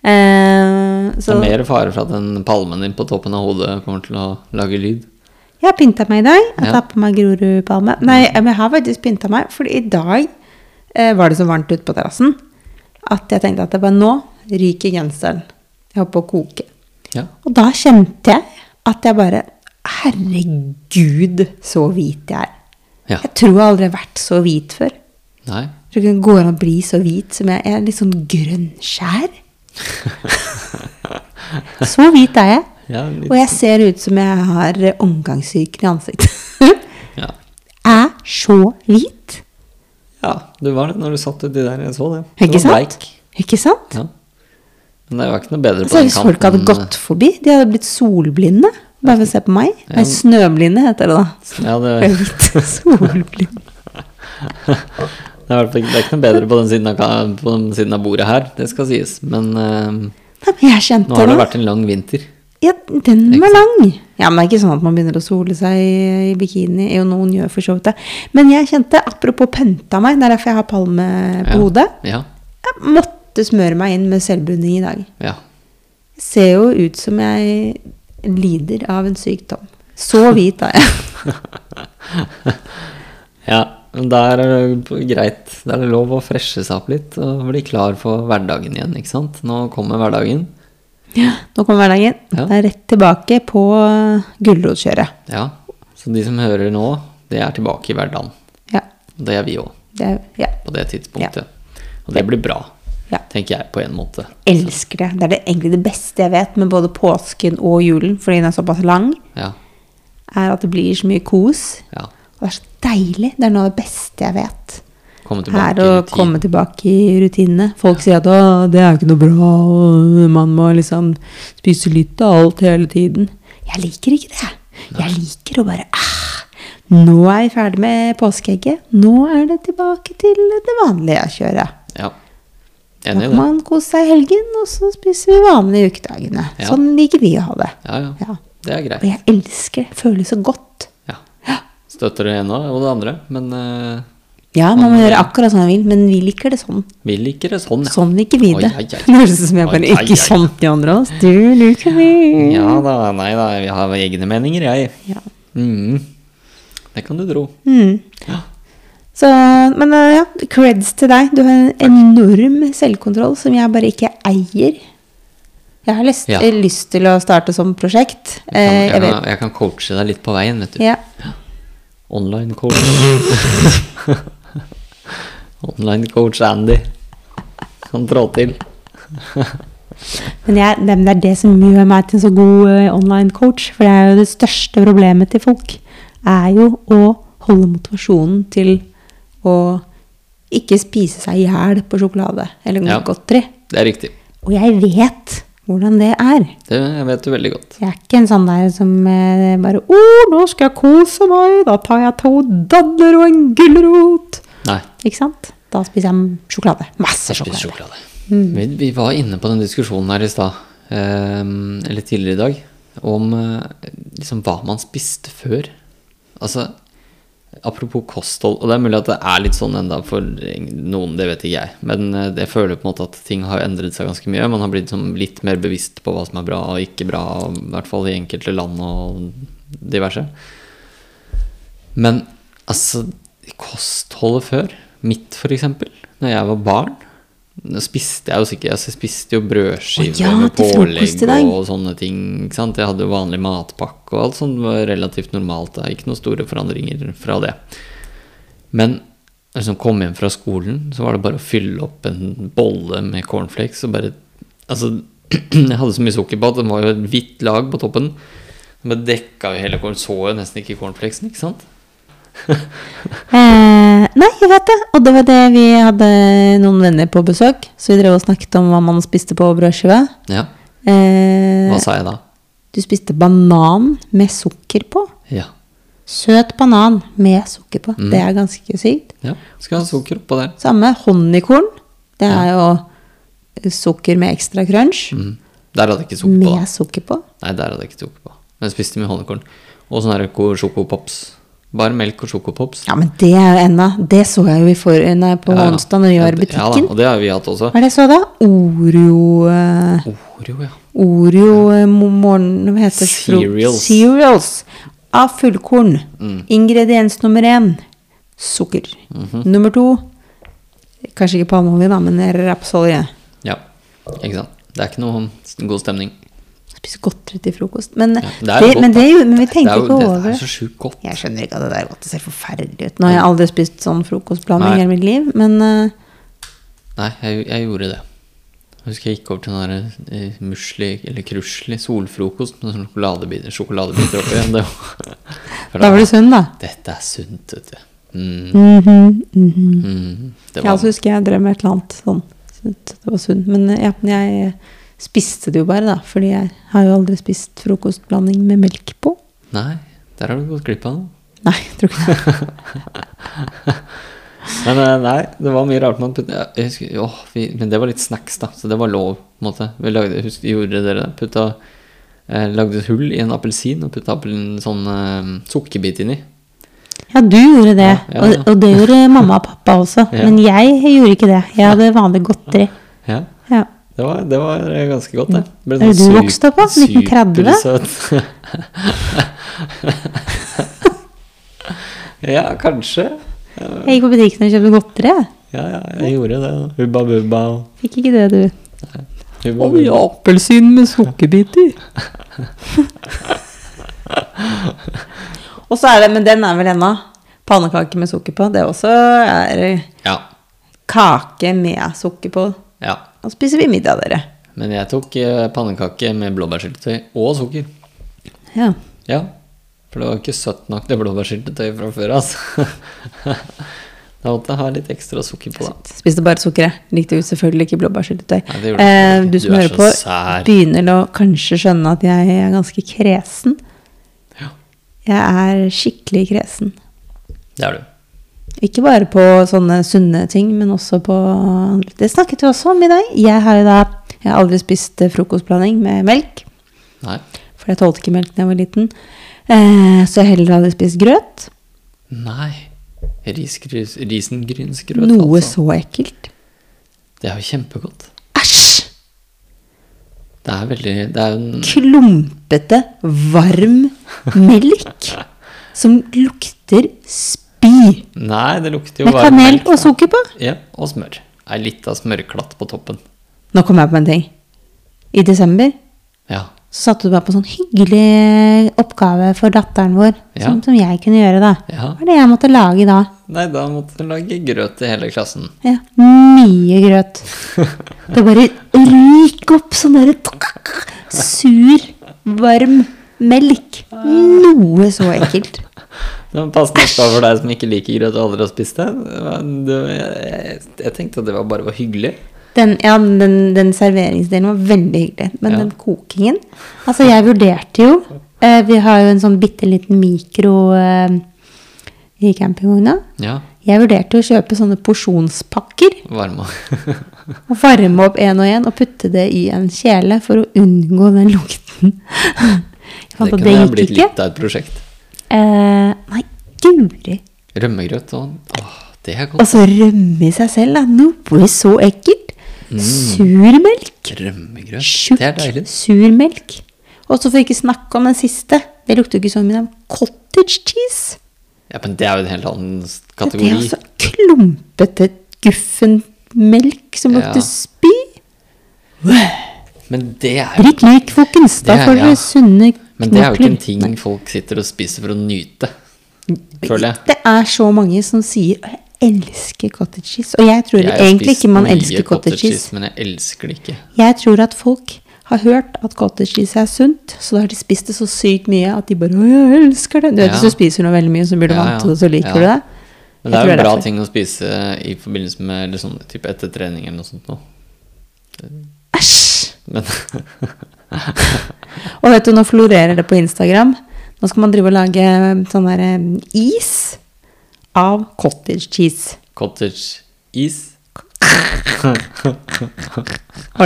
Speaker 2: Eh,
Speaker 1: Det
Speaker 2: så
Speaker 1: er mer fare for at den palmen din på toppen av hodet kommer til å lage lyd.
Speaker 2: jeg har pynta meg i dag. Jeg
Speaker 1: Ja.
Speaker 2: tar på meg Grorudpalme. Nei, eh, men jeg har faktisk pynta meg, for i dag eh, var det så varmt ute på terrassen at jeg tenkte at det var nå ryker genseren. Jeg holdt på å koke.
Speaker 1: Ja.
Speaker 2: Og da kjente jeg at jeg bare Herregud, så hvit jeg er.
Speaker 1: Ja.
Speaker 2: Jeg tror jeg aldri har vært så hvit før.
Speaker 1: Nei.
Speaker 2: Jeg tror ikke det går an å bli så hvit som jeg jeg er. Litt sånn
Speaker 1: [laughs]
Speaker 2: grønnskjær. så hvit er jeg.
Speaker 1: Ja, litt, sånn.
Speaker 2: Og jeg ser ut som jeg har omgangssyken i ansiktet. [laughs]
Speaker 1: ja.
Speaker 2: er så hvit.
Speaker 1: ja, du var det når du satt uti der. Jeg så det. Du
Speaker 2: Ikke
Speaker 1: var
Speaker 2: sant? Ikke sant?
Speaker 1: Ja. Men det var ikke noe bedre på
Speaker 2: Så
Speaker 1: den
Speaker 2: hvis folk hadde
Speaker 1: kanten. eh,
Speaker 2: gått forbi, de hadde blitt solblinde. Bare ved å se på meg. Nei, snøblinde heter det da.
Speaker 1: eh, Ja, det,
Speaker 2: Jeg er Litt solblind.
Speaker 1: det, er i hvert fall ikke- det er ikke noe bedre på den siden av, ka- på den siden av bordet her, det skal sies. Men eh,
Speaker 2: Nei, men jeg
Speaker 1: nå
Speaker 2: kjente
Speaker 1: har det
Speaker 2: det.
Speaker 1: vært en lang vinter.
Speaker 2: Ja, den var lang. Ja, men det er ikke sånn at man begynner å sole seg i- i bikini. Jo, noen gjør for så vidt det. Men jeg kjente, apropos pynta meg, det er derfor jeg har palme på
Speaker 1: Ja.
Speaker 2: hodet,
Speaker 1: Ja.
Speaker 2: jeg måtte smøre meg inn med selvbruning i dag.
Speaker 1: ja.
Speaker 2: Jeg ser jo ut som jeg lider av en sykdom. Så hvit er jeg.
Speaker 1: ja. Men da er det jo greit. Da er det lov å freshe seg opp litt og bli klar for hverdagen igjen, ikke sant? Nå kommer hverdagen.
Speaker 2: Nå kommer hverdagen.
Speaker 1: Ja.
Speaker 2: Det er rett tilbake på gulrotkjøret.
Speaker 1: Ja. Så de som hører nå, det er tilbake i hverdagen.
Speaker 2: Ja.
Speaker 1: Og det er vi òg,
Speaker 2: Det er, ja.
Speaker 1: på det tidspunktet. Og det blir bra,
Speaker 2: Ja.
Speaker 1: tenker jeg, på en måte.
Speaker 2: Elsker det. Det er det, egentlig det beste jeg vet med både påsken og julen, fordi den er såpass lang,
Speaker 1: Ja.
Speaker 2: er at det blir så mye kos.
Speaker 1: ja.
Speaker 2: Og det er så deilig. Det er noe av det beste jeg vet.
Speaker 1: Komme tilbake
Speaker 2: Her
Speaker 1: i
Speaker 2: å
Speaker 1: rutin.
Speaker 2: komme tilbake i rutinene. Folk sier at å, det er jo ikke noe bra, og man må liksom spise litt av alt hele tiden. Jeg liker ikke det. Jeg liker å bare ah, Nå er jeg ferdig med påskeegget. Nå er det tilbake til det vanlige kjøret.
Speaker 1: Ja.
Speaker 2: Da
Speaker 1: Enig i
Speaker 2: kan
Speaker 1: det.
Speaker 2: man kose seg i helgen, og så spiser vi vanlige ukedagene.
Speaker 1: Ja.
Speaker 2: Sånn liker vi å ha det.
Speaker 1: Ja, ja.
Speaker 2: Ja.
Speaker 1: Det er
Speaker 2: Og
Speaker 1: greit.
Speaker 2: jeg elsker det. Føles så godt.
Speaker 1: Ja. Støtter det ene og det andre, men eh,
Speaker 2: Ja, man må gjøre akkurat som man vil, men vi liker det sånn.
Speaker 1: vi liker det sånn. ja.
Speaker 2: Sånn liker vi
Speaker 1: Oi,
Speaker 2: det.
Speaker 1: oi, oi.
Speaker 2: Det høres ut som jeg
Speaker 1: Oi,
Speaker 2: bare
Speaker 1: oi,
Speaker 2: ikke
Speaker 1: oi.
Speaker 2: sånn de andre av oss. Du liker vi.
Speaker 1: Ja da, nei da, vi har egne meninger, jeg.
Speaker 2: Ja.
Speaker 1: Mm. Det kan du tro.
Speaker 2: Mm.
Speaker 1: Ja.
Speaker 2: Så, men eh, ja, creds til deg. Du har en enorm selvkontroll som jeg bare ikke eier. Jeg har lyst,
Speaker 1: Ja.
Speaker 2: eh, lyst til å starte som prosjekt.
Speaker 1: Jeg kan,
Speaker 2: Eh,
Speaker 1: jeg,
Speaker 2: jeg
Speaker 1: kan,
Speaker 2: vet.
Speaker 1: jeg kan coache deg litt på veien, vet du.
Speaker 2: Ja.
Speaker 1: Online coach. [laughs] Online coach Andy. Kan trå til.
Speaker 2: Men, jeg, men det er det som gjør meg til en så god eh, online coach. For det er jo det største problemet til folk. Er jo å holde motivasjonen til å ikke spise seg i hjel på sjokolade eller
Speaker 1: Ja.
Speaker 2: godteri.
Speaker 1: Det er riktig.
Speaker 2: Og jeg vet hvordan det er.
Speaker 1: Det vet du veldig godt.
Speaker 2: Jeg er ikke en sånn der som eh, bare 'Å, nå skal jeg kose meg. Da tar jeg to dadler og en gulrot.'
Speaker 1: Nei.
Speaker 2: Ikke sant? Da spiser jeg sjokolade. Masse
Speaker 1: Spis
Speaker 2: sjokolade.
Speaker 1: sjokolade. Vi, vi var inne på den diskusjonen her i stad, ehm, eller tidligere i dag, om eh, liksom hva man spiste før. Altså, apropos kosthold, og det er mulig at det er litt sånn enda for noen, det vet ikke jeg, men eh, jeg føler på en måte at ting har endret seg ganske mye. Man har blitt sånn litt mer bevisst på hva som er bra og ikke bra, og i hvert fall i enkelte land og diverse. Men altså, kostholdet før, mitt for eksempel, når jeg var barn, nå spiste jeg jo sikkert, altså, jeg spiste jo brødskiver
Speaker 2: Å ja,
Speaker 1: med
Speaker 2: til frokost
Speaker 1: pålegg
Speaker 2: i dag.
Speaker 1: og sånne ting, ikke sant? Jeg hadde jo vanlig matpakke og alt sånt var relativt normalt, da. ikke noen store forandringer fra det. Men når jeg liksom kom hjem fra skolen, så var det bare å fylle opp en bolle med cornflakes og bare, altså, [clears throat] jeg hadde så mye sukker på at den var jo et hvitt lag på toppen, den bare dekka jo hele korn, så jo nesten ikke cornflakesen, ikke sant?
Speaker 2: Eh, nei, jeg vet det. Og det var det vi hadde noen venner på besøk. Så vi drev og snakket om hva man spiste på brødskive.
Speaker 1: Ja,
Speaker 2: Eh,
Speaker 1: hva sa jeg da?
Speaker 2: du spiste banan med sukker på.
Speaker 1: Ja.
Speaker 2: Søt banan med sukker på. Det
Speaker 1: Mm.
Speaker 2: er ganske sykt.
Speaker 1: ja. Skal ha sukker oppå der.
Speaker 2: Samme honningkorn. Det er jo sukker med ekstra crunch.
Speaker 1: Mm. Der hadde jeg ikke sukker på.
Speaker 2: Med
Speaker 1: Da.
Speaker 2: sukker på.
Speaker 1: Nei, der hadde jeg ikke sukker på. Men jeg spiste mye honningkorn. Og sånne her ko- sjokopops. Bare melk og sjokopops.
Speaker 2: Ja, men det er jo enda Det så jeg jo i for, nei, på
Speaker 1: Ja, ja.
Speaker 2: onsdag når vi
Speaker 1: Ja,
Speaker 2: var i
Speaker 1: det- Ja da,
Speaker 2: butikken.
Speaker 1: og det har vi hatt også.
Speaker 2: Hva er det jeg så da? Oreo eh,
Speaker 1: Oreo, ja.
Speaker 2: Oreo eh, mo- morgen... Hva heter det? Fro-
Speaker 1: Cereals. Mm.
Speaker 2: Cereals. Av fullkorn. Ingrediens nummer én sukker.
Speaker 1: Mhm.
Speaker 2: Nummer to Kanskje ikke palmeolje, da, men rapsolje.
Speaker 1: Ja, ikke sant. Det er ikke noe sånn s- god stemning.
Speaker 2: Spise godteri til frokost. Men,
Speaker 1: det
Speaker 2: det
Speaker 1: er jo godt,
Speaker 2: men, det, er jo- men vi
Speaker 1: Det
Speaker 2: tenkte
Speaker 1: er jo,
Speaker 2: ikke
Speaker 1: det
Speaker 2: over
Speaker 1: er
Speaker 2: det.
Speaker 1: så sjukt godt.
Speaker 2: Jeg skjønner ikke at det der godt. Det ser forferdelig ut. Nå har jeg aldri spist sånn
Speaker 1: Mm.
Speaker 2: frokostblanding
Speaker 1: Nei.
Speaker 2: i hele mitt liv, men eh,
Speaker 1: Nei, jeg, jeg gjorde det. Jeg husker jeg gikk over til den der eh, musli, eller krusli, solfrokost med sånne sjokoladebiter, sjokoladebiter oppi. Det var,
Speaker 2: da var du sunn, da.
Speaker 1: Dette er sunt, vet du. Mm,
Speaker 2: Mhm, mhm.
Speaker 1: mm, det
Speaker 2: Jeg
Speaker 1: var
Speaker 2: også husker jeg drev med et eller annet sånn. syntes Det var sunt. Men eh, ja, men jeg spiste det jo bare, da. Fordi jeg har jo aldri spist frokostblanding med melk på.
Speaker 1: Nei, der har du gått glipp av noe.
Speaker 2: Nei, jeg tror [laughs] ikke det.
Speaker 1: Men eh, nei, det var mye rart man puttet ja, jeg husker, åh, vi, Men det var litt snacks, da, så det var lov. på en måte. Vi lagde, husk, gjorde dere det? Putta, eh, lagde et hull i en appelsin og putta appelen, sånn eh, sukkerbit inni.
Speaker 2: Ja, du gjorde det.
Speaker 1: Ja, ja, ja.
Speaker 2: Og, og det gjorde mamma og pappa også.
Speaker 1: Ja.
Speaker 2: Men jeg gjorde ikke det. Jeg hadde vanlig godteri.
Speaker 1: Ja,
Speaker 2: Ja.
Speaker 1: det var, det var eh, ganske godt, det. sånn det
Speaker 2: Er det du vokste opp på? 1930?
Speaker 1: [laughs] ja, kanskje.
Speaker 2: Jeg gikk på butikken og kjøpte godteri. jeg.
Speaker 1: Ja, ja, jeg gjorde det. da. Hubba bubba. og
Speaker 2: Fikk ikke det, du.
Speaker 1: Hubba bubba.
Speaker 2: appelsin med sukkerbiter. og så er det, men den er vel ennå. Pannekake med sukker på. Det også er
Speaker 1: Ja.
Speaker 2: kake med sukker på.
Speaker 1: ja.
Speaker 2: Da spiser vi middag, dere.
Speaker 1: Men jeg tok eh, pannekake med blåbærsyltetøy og sukker.
Speaker 2: Ja.
Speaker 1: Ja, for det var ikke søtt nok det blåbærsyltetøyet fra før, altså. [laughs] da måtte jeg ha litt ekstra sukker på, da.
Speaker 2: Spiste bare sukkeret. Likte jo selvfølgelig ikke blåbærsyltetøy.
Speaker 1: Nei, det gjorde du
Speaker 2: Eh,
Speaker 1: selvfølgelig
Speaker 2: du
Speaker 1: ikke. Du
Speaker 2: som
Speaker 1: er
Speaker 2: hører
Speaker 1: så
Speaker 2: på,
Speaker 1: sær.
Speaker 2: begynner å kanskje skjønne at jeg er ganske kresen.
Speaker 1: Ja.
Speaker 2: Jeg er skikkelig kresen.
Speaker 1: Det er du.
Speaker 2: Ikke bare på sånne sunne ting, men også på Det snakket vi også om i dag. Jeg har jo da jeg har aldri spist eh, frokostblanding med melk,
Speaker 1: Nei.
Speaker 2: for jeg tålte ikke melk da jeg var liten. Eh, så jeg har heller aldri spist grøt.
Speaker 1: Nei. Risgrys, risengrynsgrøt,
Speaker 2: Noe
Speaker 1: altså.
Speaker 2: så ekkelt.
Speaker 1: Det er jo kjempegodt.
Speaker 2: Æsj!
Speaker 1: Det er veldig Det er jo en
Speaker 2: klumpete, varm melk som lukter spy.
Speaker 1: Nei, det lukter jo
Speaker 2: Med
Speaker 1: varm
Speaker 2: kanel
Speaker 1: melk,
Speaker 2: og
Speaker 1: da.
Speaker 2: sukker på.
Speaker 1: Ja, og smør. Ei lita smørklatt på toppen.
Speaker 2: Nå kom jeg på en ting. I desember
Speaker 1: Ja.
Speaker 2: så satte du meg på sånn hyggelig oppgave for datteren vår,
Speaker 1: Ja.
Speaker 2: som, som jeg kunne gjøre da.
Speaker 1: Ja.
Speaker 2: Hva er det jeg måtte lage da?
Speaker 1: Nei, da måtte du lage grøt til hele klassen.
Speaker 2: Ja, mye
Speaker 1: [laughs]
Speaker 2: grøt. Det bare ryk opp sånn der sur, varm melk. Noe så ekkelt.
Speaker 1: Det var en passende oppgave for deg som ikke liker grøt og aldri har spist det. Det var- det- Jeg jeg tenkte at det var bare var hyggelig.
Speaker 2: Den, ja, den, den serveringsdelen var veldig hyggelig. Men
Speaker 1: Ja.
Speaker 2: den kokingen Altså, jeg vurderte jo eh, Vi har jo en sånn bitte liten mikro eh, i campingvogna.
Speaker 1: Ja,
Speaker 2: Jeg vurderte jo å kjøpe sånne porsjonspakker
Speaker 1: varme. [laughs]
Speaker 2: og varme opp én og én og putte det i en kjele for å unngå den lukten. [laughs]
Speaker 1: Det
Speaker 2: Jeg
Speaker 1: kunne
Speaker 2: fant at Altså, det
Speaker 1: ha
Speaker 2: gikk
Speaker 1: blitt
Speaker 2: ikke.
Speaker 1: litt av et prosjekt.
Speaker 2: Eh, nei, guri.
Speaker 1: Rømmegrøt og Åh, det er
Speaker 2: Og
Speaker 1: godt.
Speaker 2: så rømme i seg selv, da. Noe så ekkelt.
Speaker 1: Mm.
Speaker 2: Surmelk.
Speaker 1: Rømmegrøt. Det er
Speaker 2: Tjukk,
Speaker 1: deilig.
Speaker 2: sur melk. Og så får vi ikke snakke om den siste. Det lukter jo ikke sånn, men det er cottage cheese.
Speaker 1: Ja, men det er jo en helt annen
Speaker 2: Det er
Speaker 1: kategori.
Speaker 2: altså klumpete guffen melk som
Speaker 1: Ja.
Speaker 2: lukter spy.
Speaker 1: Men det er jo
Speaker 2: Drikk lik, folkens. Da
Speaker 1: Det er-
Speaker 2: får dere
Speaker 1: ja.
Speaker 2: sunne
Speaker 1: Men det er jo ikke en
Speaker 2: knokler.
Speaker 1: ting folk sitter og spiser for å nyte, føler jeg.
Speaker 2: Det er så mange som sier «Å, jeg elsker cottage cheese. Og jeg tror
Speaker 1: Jeg har
Speaker 2: egentlig
Speaker 1: spist
Speaker 2: ikke man
Speaker 1: mye
Speaker 2: elsker cottage cheese.
Speaker 1: Men jeg elsker det ikke.
Speaker 2: Jeg tror at folk har hørt at cottage cheese er sunt, så da har de spist det så sykt mye at de bare Å, jeg elsker det. Du vet,
Speaker 1: Ja.
Speaker 2: hvis du spiser noe veldig mye, så blir du
Speaker 1: Ja,
Speaker 2: vant
Speaker 1: ja.
Speaker 2: til det, så liker
Speaker 1: Ja.
Speaker 2: du det.
Speaker 1: Men
Speaker 2: Jeg
Speaker 1: det er
Speaker 2: tror
Speaker 1: jo en bra
Speaker 2: derfor.
Speaker 1: ting å spise i forbindelse med eller sånn, typ etter trening eller noe sånt. Nå.
Speaker 2: Æsj!
Speaker 1: Men [laughs]
Speaker 2: Og vet du, nå florerer det på Instagram. Nå skal man drive og lage sånn der eh, is av cottage cheese.
Speaker 1: cottage is
Speaker 2: Var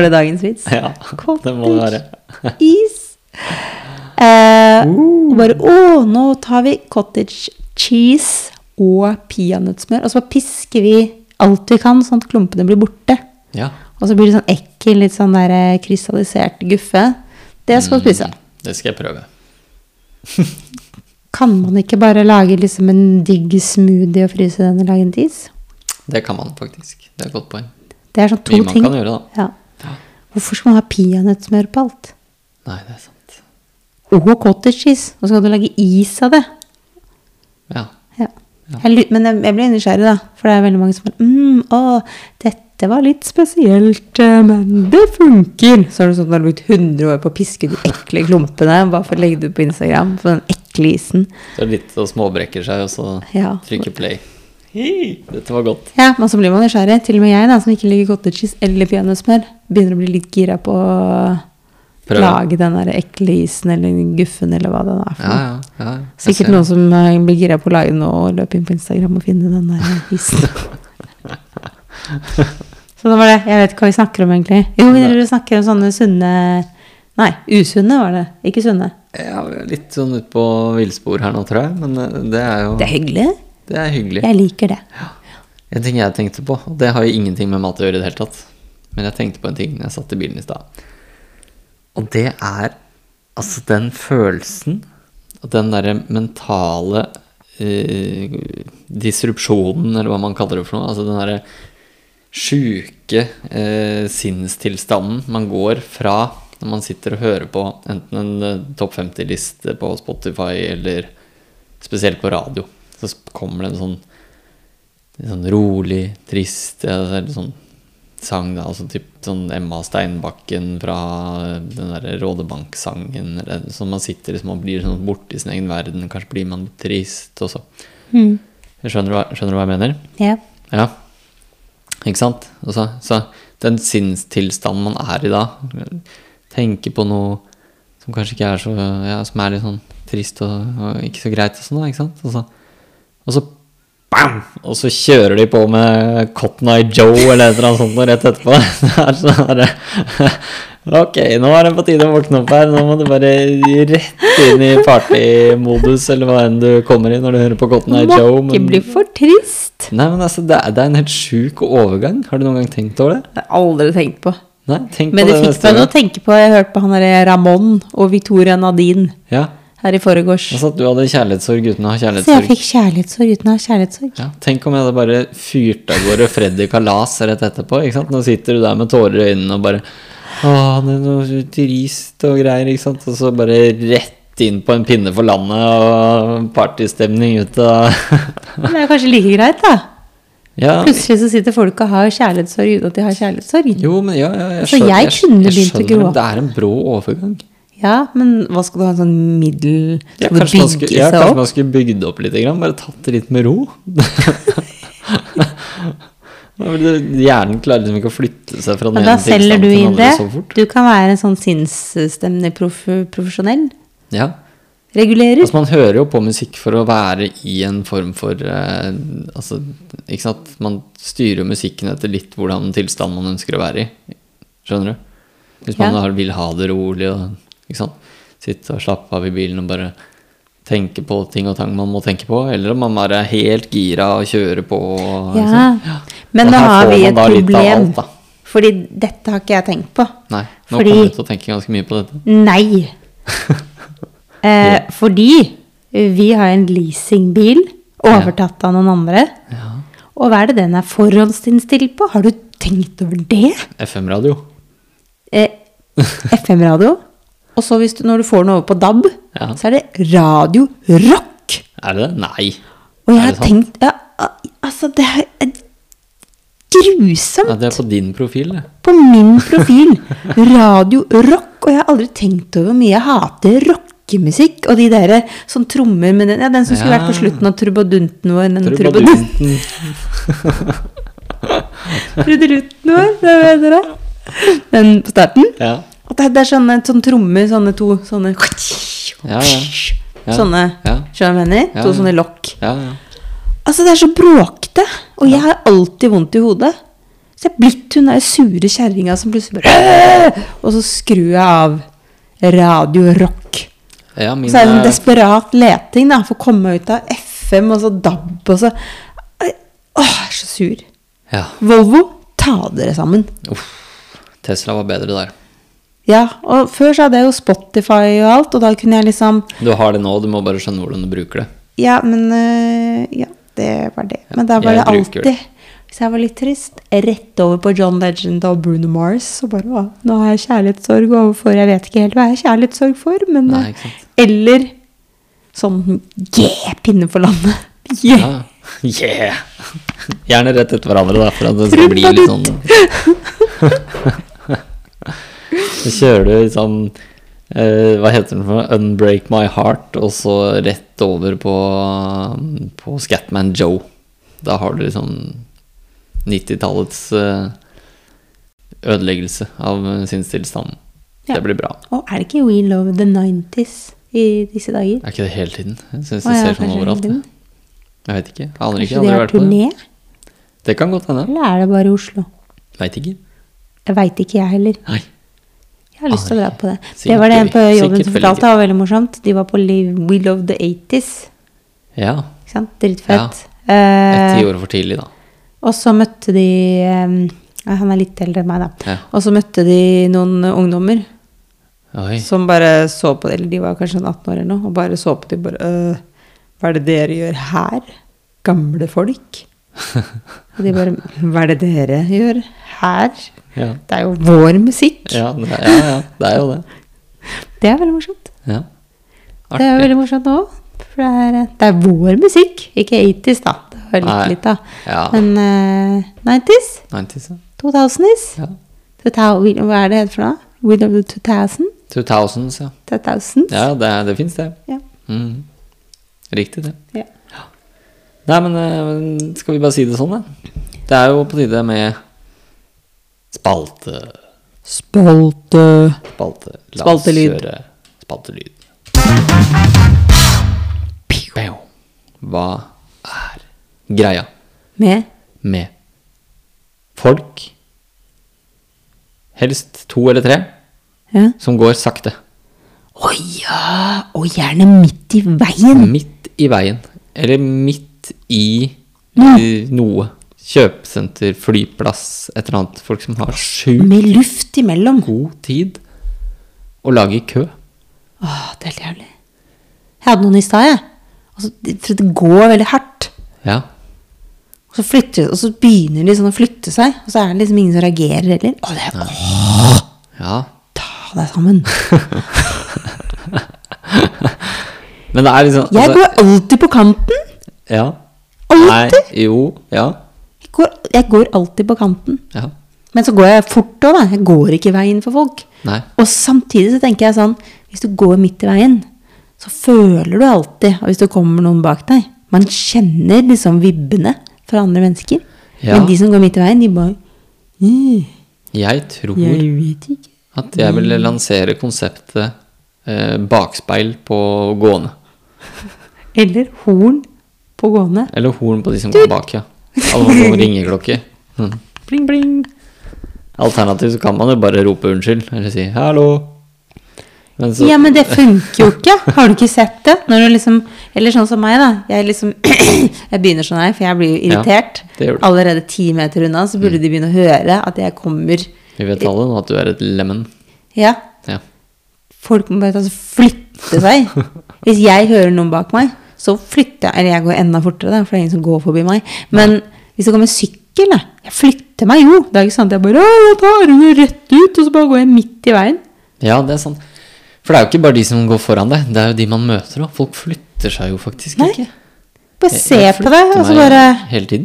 Speaker 2: det dagens vits?
Speaker 1: Ja, det må det være.
Speaker 2: [laughs] Is. Eh, og bare Å, nå tar vi cottage cheese og peanøttsmør. Og så bare pisker vi alt vi kan, sånn at klumpene blir borte.
Speaker 1: Ja.
Speaker 2: Og så blir det sånn ekkel, litt sånn der eh, krystallisert guffe. Det skal man spise.
Speaker 1: Mm, Det skal jeg prøve.
Speaker 2: Kan man ikke bare lage liksom en digg smoothie og fryse den og lage en til is?
Speaker 1: Det kan man faktisk. Det er et godt poeng.
Speaker 2: Det er sånn to
Speaker 1: Mye man
Speaker 2: ting.
Speaker 1: kan gjøre, da.
Speaker 2: Ja.
Speaker 1: Ja.
Speaker 2: Hvorfor skal man ha peanøttsmør på alt?
Speaker 1: Nei, det er sant.
Speaker 2: Og cottage cheese. Og så skal du lage is av det.
Speaker 1: Ja.
Speaker 2: Ja. Jeg, lu- men jeg, jeg blir nysgjerrig, da. For det er veldig mange som bare mm, Å, dette var litt spesielt, eh, men det funker. Så er det sånn at du har brukt 100 år på å piske de ekle klumpene bare for å legge det ut på Instagram. For den ekle isen.
Speaker 1: Så litt og småbrekker seg, og så
Speaker 2: Ja.
Speaker 1: trykker play. Dette var godt.
Speaker 2: Ja, men så blir man nysgjerrig. Til og med jeg, da, som ikke liker cottage cheese eller peanøttsmør, begynner å bli litt gira på å
Speaker 1: Prøve.
Speaker 2: lage den der ekle isen eller guffen eller hva den er. for
Speaker 1: Ja,
Speaker 2: noe.
Speaker 1: ja. ja. Jeg
Speaker 2: Sikkert
Speaker 1: ser
Speaker 2: noen som eh, blir gira på å lage noe og løpe inn på Instagram og finne den der
Speaker 1: [laughs]
Speaker 2: isen. Så det var det. Jeg vet ikke hva vi snakker om, egentlig. Jo, vi
Speaker 1: Nei.
Speaker 2: driver og snakker om sånne sunne Nei, usunne var det. Ikke sunne.
Speaker 1: Ja, vi er litt sånn ute på villspor her nå, tror jeg. Men eh, det er jo
Speaker 2: Det er hyggelig.
Speaker 1: det er hyggelig.
Speaker 2: Jeg liker det.
Speaker 1: En ting jeg tenkte på, og det har jo ingenting med mat å gjøre i det hele tatt, men jeg tenkte på en ting når jeg satt i bilen i stad. Og det er altså den følelsen og den derre mentale eh, disrupsjonen, eller hva man kaller det for noe. Altså den derre sjuke eh, sinnstilstanden man går fra når man sitter og hører på enten en eh, topp 50-liste på Spotify eller spesielt på radio. Så sp- kommer det en sånn Litt sånn rolig, trist ja, det er litt sånn sang, da. Altså typ sånn Emma Steinbakken fra den derre Rådebank-sangen. eller Sånn man sitter liksom og blir sånn borte i sin egen verden. Kanskje blir man litt trist og så.
Speaker 2: Mm.
Speaker 1: Skjønner du hva, skjønner du hva jeg mener?
Speaker 2: Ja.
Speaker 1: Ja. Ikke sant? Og så, så den sinnstilstanden man er i da, tenker på noe som kanskje ikke er så ja, Som er litt sånn trist og, og ikke så greit og sånn, da, ikke sant? Og så, og så bam! Og så kjører de på med Cotton Eye Joe eller et eller annet sånt noe rett etterpå. [laughs] Det er sånn herre [laughs] Ok, nå er det på tide å våkne opp her. Nå må du bare rett inn i partymodus eller hva enn du kommer i når du hører på Cotton
Speaker 2: Må
Speaker 1: Eye Joe.
Speaker 2: ikke bli for trist.
Speaker 1: Nei, men altså, det er, det er en helt sjuk overgang. Har du noen gang tenkt over det?
Speaker 2: Det har jeg aldri tenkt på.
Speaker 1: Nei, tenk
Speaker 2: Men
Speaker 1: på
Speaker 2: det
Speaker 1: det
Speaker 2: fikk
Speaker 1: neste
Speaker 2: meg til å
Speaker 1: gang.
Speaker 2: tenke på Jeg hørte på han derre Ramón og Victoria Nadine
Speaker 1: Ja,
Speaker 2: her i foregårs.
Speaker 1: altså at du hadde kjærlighetssorg uten å ha
Speaker 2: Så jeg
Speaker 1: kjærlighetssorg.
Speaker 2: fikk kjærlighetssorg uten å ha kjærlighetssorg.
Speaker 1: Ja, tenk om jeg hadde bare fyrt av gårde Freddy Kalas rett etterpå. ikke sant? Nå sitter du der med tårer i øynene og bare Å, det er noe trist og greier, ikke sant? Og så bare rett inn på en pinne for landet og partystemning ut av [laughs]
Speaker 2: Men det er kanskje like greit, da.
Speaker 1: Ja,
Speaker 2: Plutselig så sitter folk og har kjærlighetssorg uten at de har kjærlighetssorg.
Speaker 1: jo, men ja, ja jeg
Speaker 2: Altså, jeg
Speaker 1: skjønner,
Speaker 2: kunne
Speaker 1: jeg,
Speaker 2: begynt å
Speaker 1: skjønner det.
Speaker 2: gråte.
Speaker 1: Det er en brå overgang.
Speaker 2: Ja, men hva skal du ha en sånn middel
Speaker 1: Ja,
Speaker 2: Skal det
Speaker 1: kanskje man
Speaker 2: bygge
Speaker 1: skulle, ja,
Speaker 2: seg
Speaker 1: kanskje
Speaker 2: opp?
Speaker 1: man skulle bygd det opp litt, grann, bare tatt det litt med
Speaker 2: [laughs]
Speaker 1: ro. [laughs] Da vil det- Hjernen klarer liksom ikke å flytte seg fra den
Speaker 2: Og da
Speaker 1: ene
Speaker 2: selger
Speaker 1: tilstanden
Speaker 2: du
Speaker 1: til den
Speaker 2: inn
Speaker 1: andre
Speaker 2: det.
Speaker 1: så fort.
Speaker 2: Du kan være en sånn sinnsstemning proff, profesjonell.
Speaker 1: Ja.
Speaker 2: Regulerer.
Speaker 1: Altså, man hører jo på musikk for å være i en form for eh, altså, ikke sant? Man styrer jo musikken etter litt hvordan tilstanden man ønsker å være i. Skjønner du? Hvis man
Speaker 2: Ja.
Speaker 1: har, vil ha det rolig og ikke sant? sitte og slappe av i bilen og bare tenke på ting og tang man må tenke på, eller om man bare er helt gira og kjører på. Og, ikke
Speaker 2: Ja.
Speaker 1: sant?
Speaker 2: Men
Speaker 1: Og
Speaker 2: nå
Speaker 1: sånn- her
Speaker 2: har
Speaker 1: får
Speaker 2: vi
Speaker 1: man
Speaker 2: et
Speaker 1: da litt av
Speaker 2: problem.
Speaker 1: alt, da.
Speaker 2: Fordi dette har ikke jeg tenkt på.
Speaker 1: Nei, nå
Speaker 2: Fordi-
Speaker 1: kommer du til å tenke ganske mye på dette. [laughs]
Speaker 2: Nei. eh, fordi vi har en leasingbil overtatt av noen andre.
Speaker 1: Ja.
Speaker 2: Og hva er det den er forhåndsinnstilt på? Har du tenkt over det?
Speaker 1: FM-radio. [laughs]
Speaker 2: Eh, FM-radio. Og så hvis du, når du får den over på DAB,
Speaker 1: Ja.
Speaker 2: så er det radio rock.
Speaker 1: Er det det? Nei.
Speaker 2: Og jeg
Speaker 1: Er
Speaker 2: har
Speaker 1: det sant?
Speaker 2: tenkt ja, al- Altså, det er er grusomt
Speaker 1: Ja, det er på din profil, det.
Speaker 2: på min profil. Radio rock. Og jeg har aldri tenkt over hvor mye jeg hater rockemusikk. Og de der eh, som trommer med den, ja, den som skulle
Speaker 1: Ja.
Speaker 2: vært på slutten av trubadunten vår. Den trubadunten, [laughs]
Speaker 1: Trubadunten.
Speaker 2: trubadunten vår, det vet dere. Den på starten.
Speaker 1: Ja.
Speaker 2: Og det, det er sånne sånn trommer, sånne to sånne
Speaker 1: Ja, ja. Ja.
Speaker 2: Sånne.
Speaker 1: Ja.
Speaker 2: Skjønner du hva jeg mener?
Speaker 1: Ja,
Speaker 2: To
Speaker 1: ja.
Speaker 2: sånne lokk.
Speaker 1: Ja, ja.
Speaker 2: Altså, det er så bråkete, og jeg har alltid vondt i hodet. Så jeg er blitt hun der sure kjerringa som plutselig bare «Øh!» Og så skrur jeg av radio rock.
Speaker 1: ja min, eh,
Speaker 2: Så er det en
Speaker 1: er,
Speaker 2: desperat leting da, for å komme ut av FM og så DAB og så Åh, jeg er så sur.
Speaker 1: ja.
Speaker 2: Volvo, ta dere sammen.
Speaker 1: Tesla var bedre der.
Speaker 2: Ja, og før så hadde jeg jo Spotify og alt, og da kunne jeg liksom
Speaker 1: Du har det nå, du må bare skjønne hvordan du bruker det.
Speaker 2: Ja, men øh, Ja, det var det. Men da var
Speaker 1: jeg
Speaker 2: det
Speaker 1: bruker
Speaker 2: alltid Hvis jeg var litt trist, rett over på John Legend og Bruno Mars. Og bare hva? Nå har jeg kjærlighetssorg overfor Jeg vet ikke helt hva jeg har kjærlighetssorg for, men
Speaker 1: Nei,
Speaker 2: øh,
Speaker 1: ikke sant.
Speaker 2: Eller sånn Yeah! Pinne for landet. [laughs]
Speaker 1: Ja. [laughs]
Speaker 2: Yeah!
Speaker 1: Yeah! [laughs] Gjerne rett etter hverandre, da, for at det skal bli litt sånn [laughs] Så kjører du liksom eh, Hva heter den for noe? Unbreak My Heart, og så rett over på, på Scatman Joe. Da har du liksom 90-tallets eh, ødeleggelse av eh, sinnstilstanden.
Speaker 2: Ja.
Speaker 1: Det blir bra.
Speaker 2: Og er det ikke We Love the 90s i disse dager?
Speaker 1: Er ikke det hele tiden? Jeg syns
Speaker 2: Å
Speaker 1: det
Speaker 2: ja,
Speaker 1: ser sånn
Speaker 2: kanskje
Speaker 1: overalt.
Speaker 2: den.
Speaker 1: jeg. Jeg vet ikke. Jeg aner ikke.
Speaker 2: Kanskje
Speaker 1: Jeg har
Speaker 2: de
Speaker 1: aldri
Speaker 2: har
Speaker 1: vært på det.
Speaker 2: turné?
Speaker 1: Det kan godt hende.
Speaker 2: Eller er det bare Oslo?
Speaker 1: Veit ikke.
Speaker 2: Jeg veit ikke, jeg heller.
Speaker 1: Nei.
Speaker 2: Jeg har lyst til å dra på det. det
Speaker 1: Ah, Sikkert
Speaker 2: var det en på
Speaker 1: gøy.
Speaker 2: jobben
Speaker 1: Sikkert veldig
Speaker 2: som fortalte,
Speaker 1: gøy.
Speaker 2: det var veldig morsomt. De var på Live We Love the 80s.
Speaker 1: Ja.
Speaker 2: Ikke sant? Dritfett.
Speaker 1: Et
Speaker 2: Eh,
Speaker 1: tiår for tidlig, da.
Speaker 2: og så møtte de eh, ja, Han er litt eldre enn meg, da.
Speaker 1: Ja.
Speaker 2: Og så møtte de noen ungdommer
Speaker 1: Oi.
Speaker 2: som bare så på det, eller de var kanskje sånn 18 år eller noe, og bare så på det bare «Øh, Hva er det dere gjør her? Gamle folk?
Speaker 1: [laughs]
Speaker 2: Og de bare Hva er det dere gjør her?
Speaker 1: Ja.
Speaker 2: Det er jo vår musikk.
Speaker 1: Ja, det, ja, ja, det er jo det.
Speaker 2: Det er veldig morsomt.
Speaker 1: Ja.
Speaker 2: Det er jo
Speaker 1: Artig.
Speaker 2: veldig morsomt òg. For det er, det er vår musikk, ikke 80s, da. Det var litt,
Speaker 1: Nei.
Speaker 2: litt da.
Speaker 1: Ja.
Speaker 2: Men eh, 90s,
Speaker 1: 90s, ja.
Speaker 2: 2000s.
Speaker 1: ja.
Speaker 2: 2000, hva er det het for noe? We love the 2000?
Speaker 1: 2000s, ja.
Speaker 2: 2000s?
Speaker 1: Ja, det, det fins, det.
Speaker 2: Ja.
Speaker 1: Mm. Riktig, det.
Speaker 2: ja.
Speaker 1: Nei, men eh, skal vi bare si det sånn, da? Det er jo på tide med spalte.
Speaker 2: Spalte
Speaker 1: Spalte. La oss
Speaker 2: Spaltelyd.
Speaker 1: kjøre spaltelyd. Bam. Hva er greia
Speaker 2: Med
Speaker 1: med folk, helst to eller tre,
Speaker 2: ja.
Speaker 1: som går sakte?
Speaker 2: Å ja! Og gjerne midt i veien!
Speaker 1: Midt i veien, eller midt i
Speaker 2: Ja.
Speaker 1: eh, noe. Kjøpesenter, flyplass, et eller annet. Folk som har sjukt
Speaker 2: Med luft imellom.
Speaker 1: god tid og lager kø.
Speaker 2: Åh, det er helt jævlig. Jeg hadde noen i stad, jeg. Altså, det- for det går veldig hardt.
Speaker 1: Ja.
Speaker 2: Og så, flytter, og så begynner de sånn å flytte seg, og så er det liksom ingen som reagerer heller. Å, det er, åh,
Speaker 1: ja.
Speaker 2: ta deg sammen.
Speaker 1: Men det er liksom
Speaker 2: Jeg
Speaker 1: altså-
Speaker 2: går alltid på kanten.
Speaker 1: Ja.
Speaker 2: Alltid.
Speaker 1: Nei, jo. Ja.
Speaker 2: Jeg går, jeg går alltid på kanten.
Speaker 1: ja.
Speaker 2: Men så går jeg fort òg, da. Jeg går ikke veien for folk.
Speaker 1: Nei.
Speaker 2: Og samtidig så tenker jeg sånn Hvis du går midt i veien, så føler du alltid og hvis det kommer noen bak deg. Man kjenner liksom vibbene fra andre mennesker.
Speaker 1: Ja.
Speaker 2: Men de som går midt i veien, de bare «Ih,
Speaker 1: Jeg tror
Speaker 2: Jeg vet ikke.
Speaker 1: at jeg vil lansere konseptet eh, bakspeil på gående.
Speaker 2: Eller horn på gående.
Speaker 1: Eller horn på de som går bak, ja. Eller
Speaker 2: [laughs]
Speaker 1: noen ringeklokke. Mm.
Speaker 2: Bling, bling.
Speaker 1: Alternativt så kan man jo bare rope unnskyld, eller si 'hallo'. Men så,
Speaker 2: Ja, men det funker jo ikke. Har du ikke sett det? Når du liksom, eller sånn som meg, da. Jeg, liksom, [clears throat] jeg begynner sånn her, for jeg blir jo
Speaker 1: Ja,
Speaker 2: irritert.
Speaker 1: det gjør du. Mm.
Speaker 2: Allerede ti meter unna så burde de begynne å høre at jeg kommer.
Speaker 1: vi vet alle nå at du er et lemen.
Speaker 2: Ja,
Speaker 1: Ja.
Speaker 2: Folk må bare ta og flytte
Speaker 1: [laughs]
Speaker 2: seg. Hvis jeg hører noen bak meg, så flytter jeg. Eller jeg går enda fortere, da, for det er ingen som går forbi meg. Men hvis det kommer sykkel, da, jeg flytter meg jo. Det er ikke sant at jeg bare «Å, jeg tar den jo rett ut, og så bare går jeg midt i veien.
Speaker 1: ja, det er sant. For det er jo ikke bare de som går foran deg, det er jo de man møter òg. Folk flytter seg jo faktisk
Speaker 2: Nei.
Speaker 1: ikke.
Speaker 2: Bare se
Speaker 1: Jeg
Speaker 2: på deg,
Speaker 1: flytter
Speaker 2: og så
Speaker 1: meg
Speaker 2: bare
Speaker 1: Hele tiden.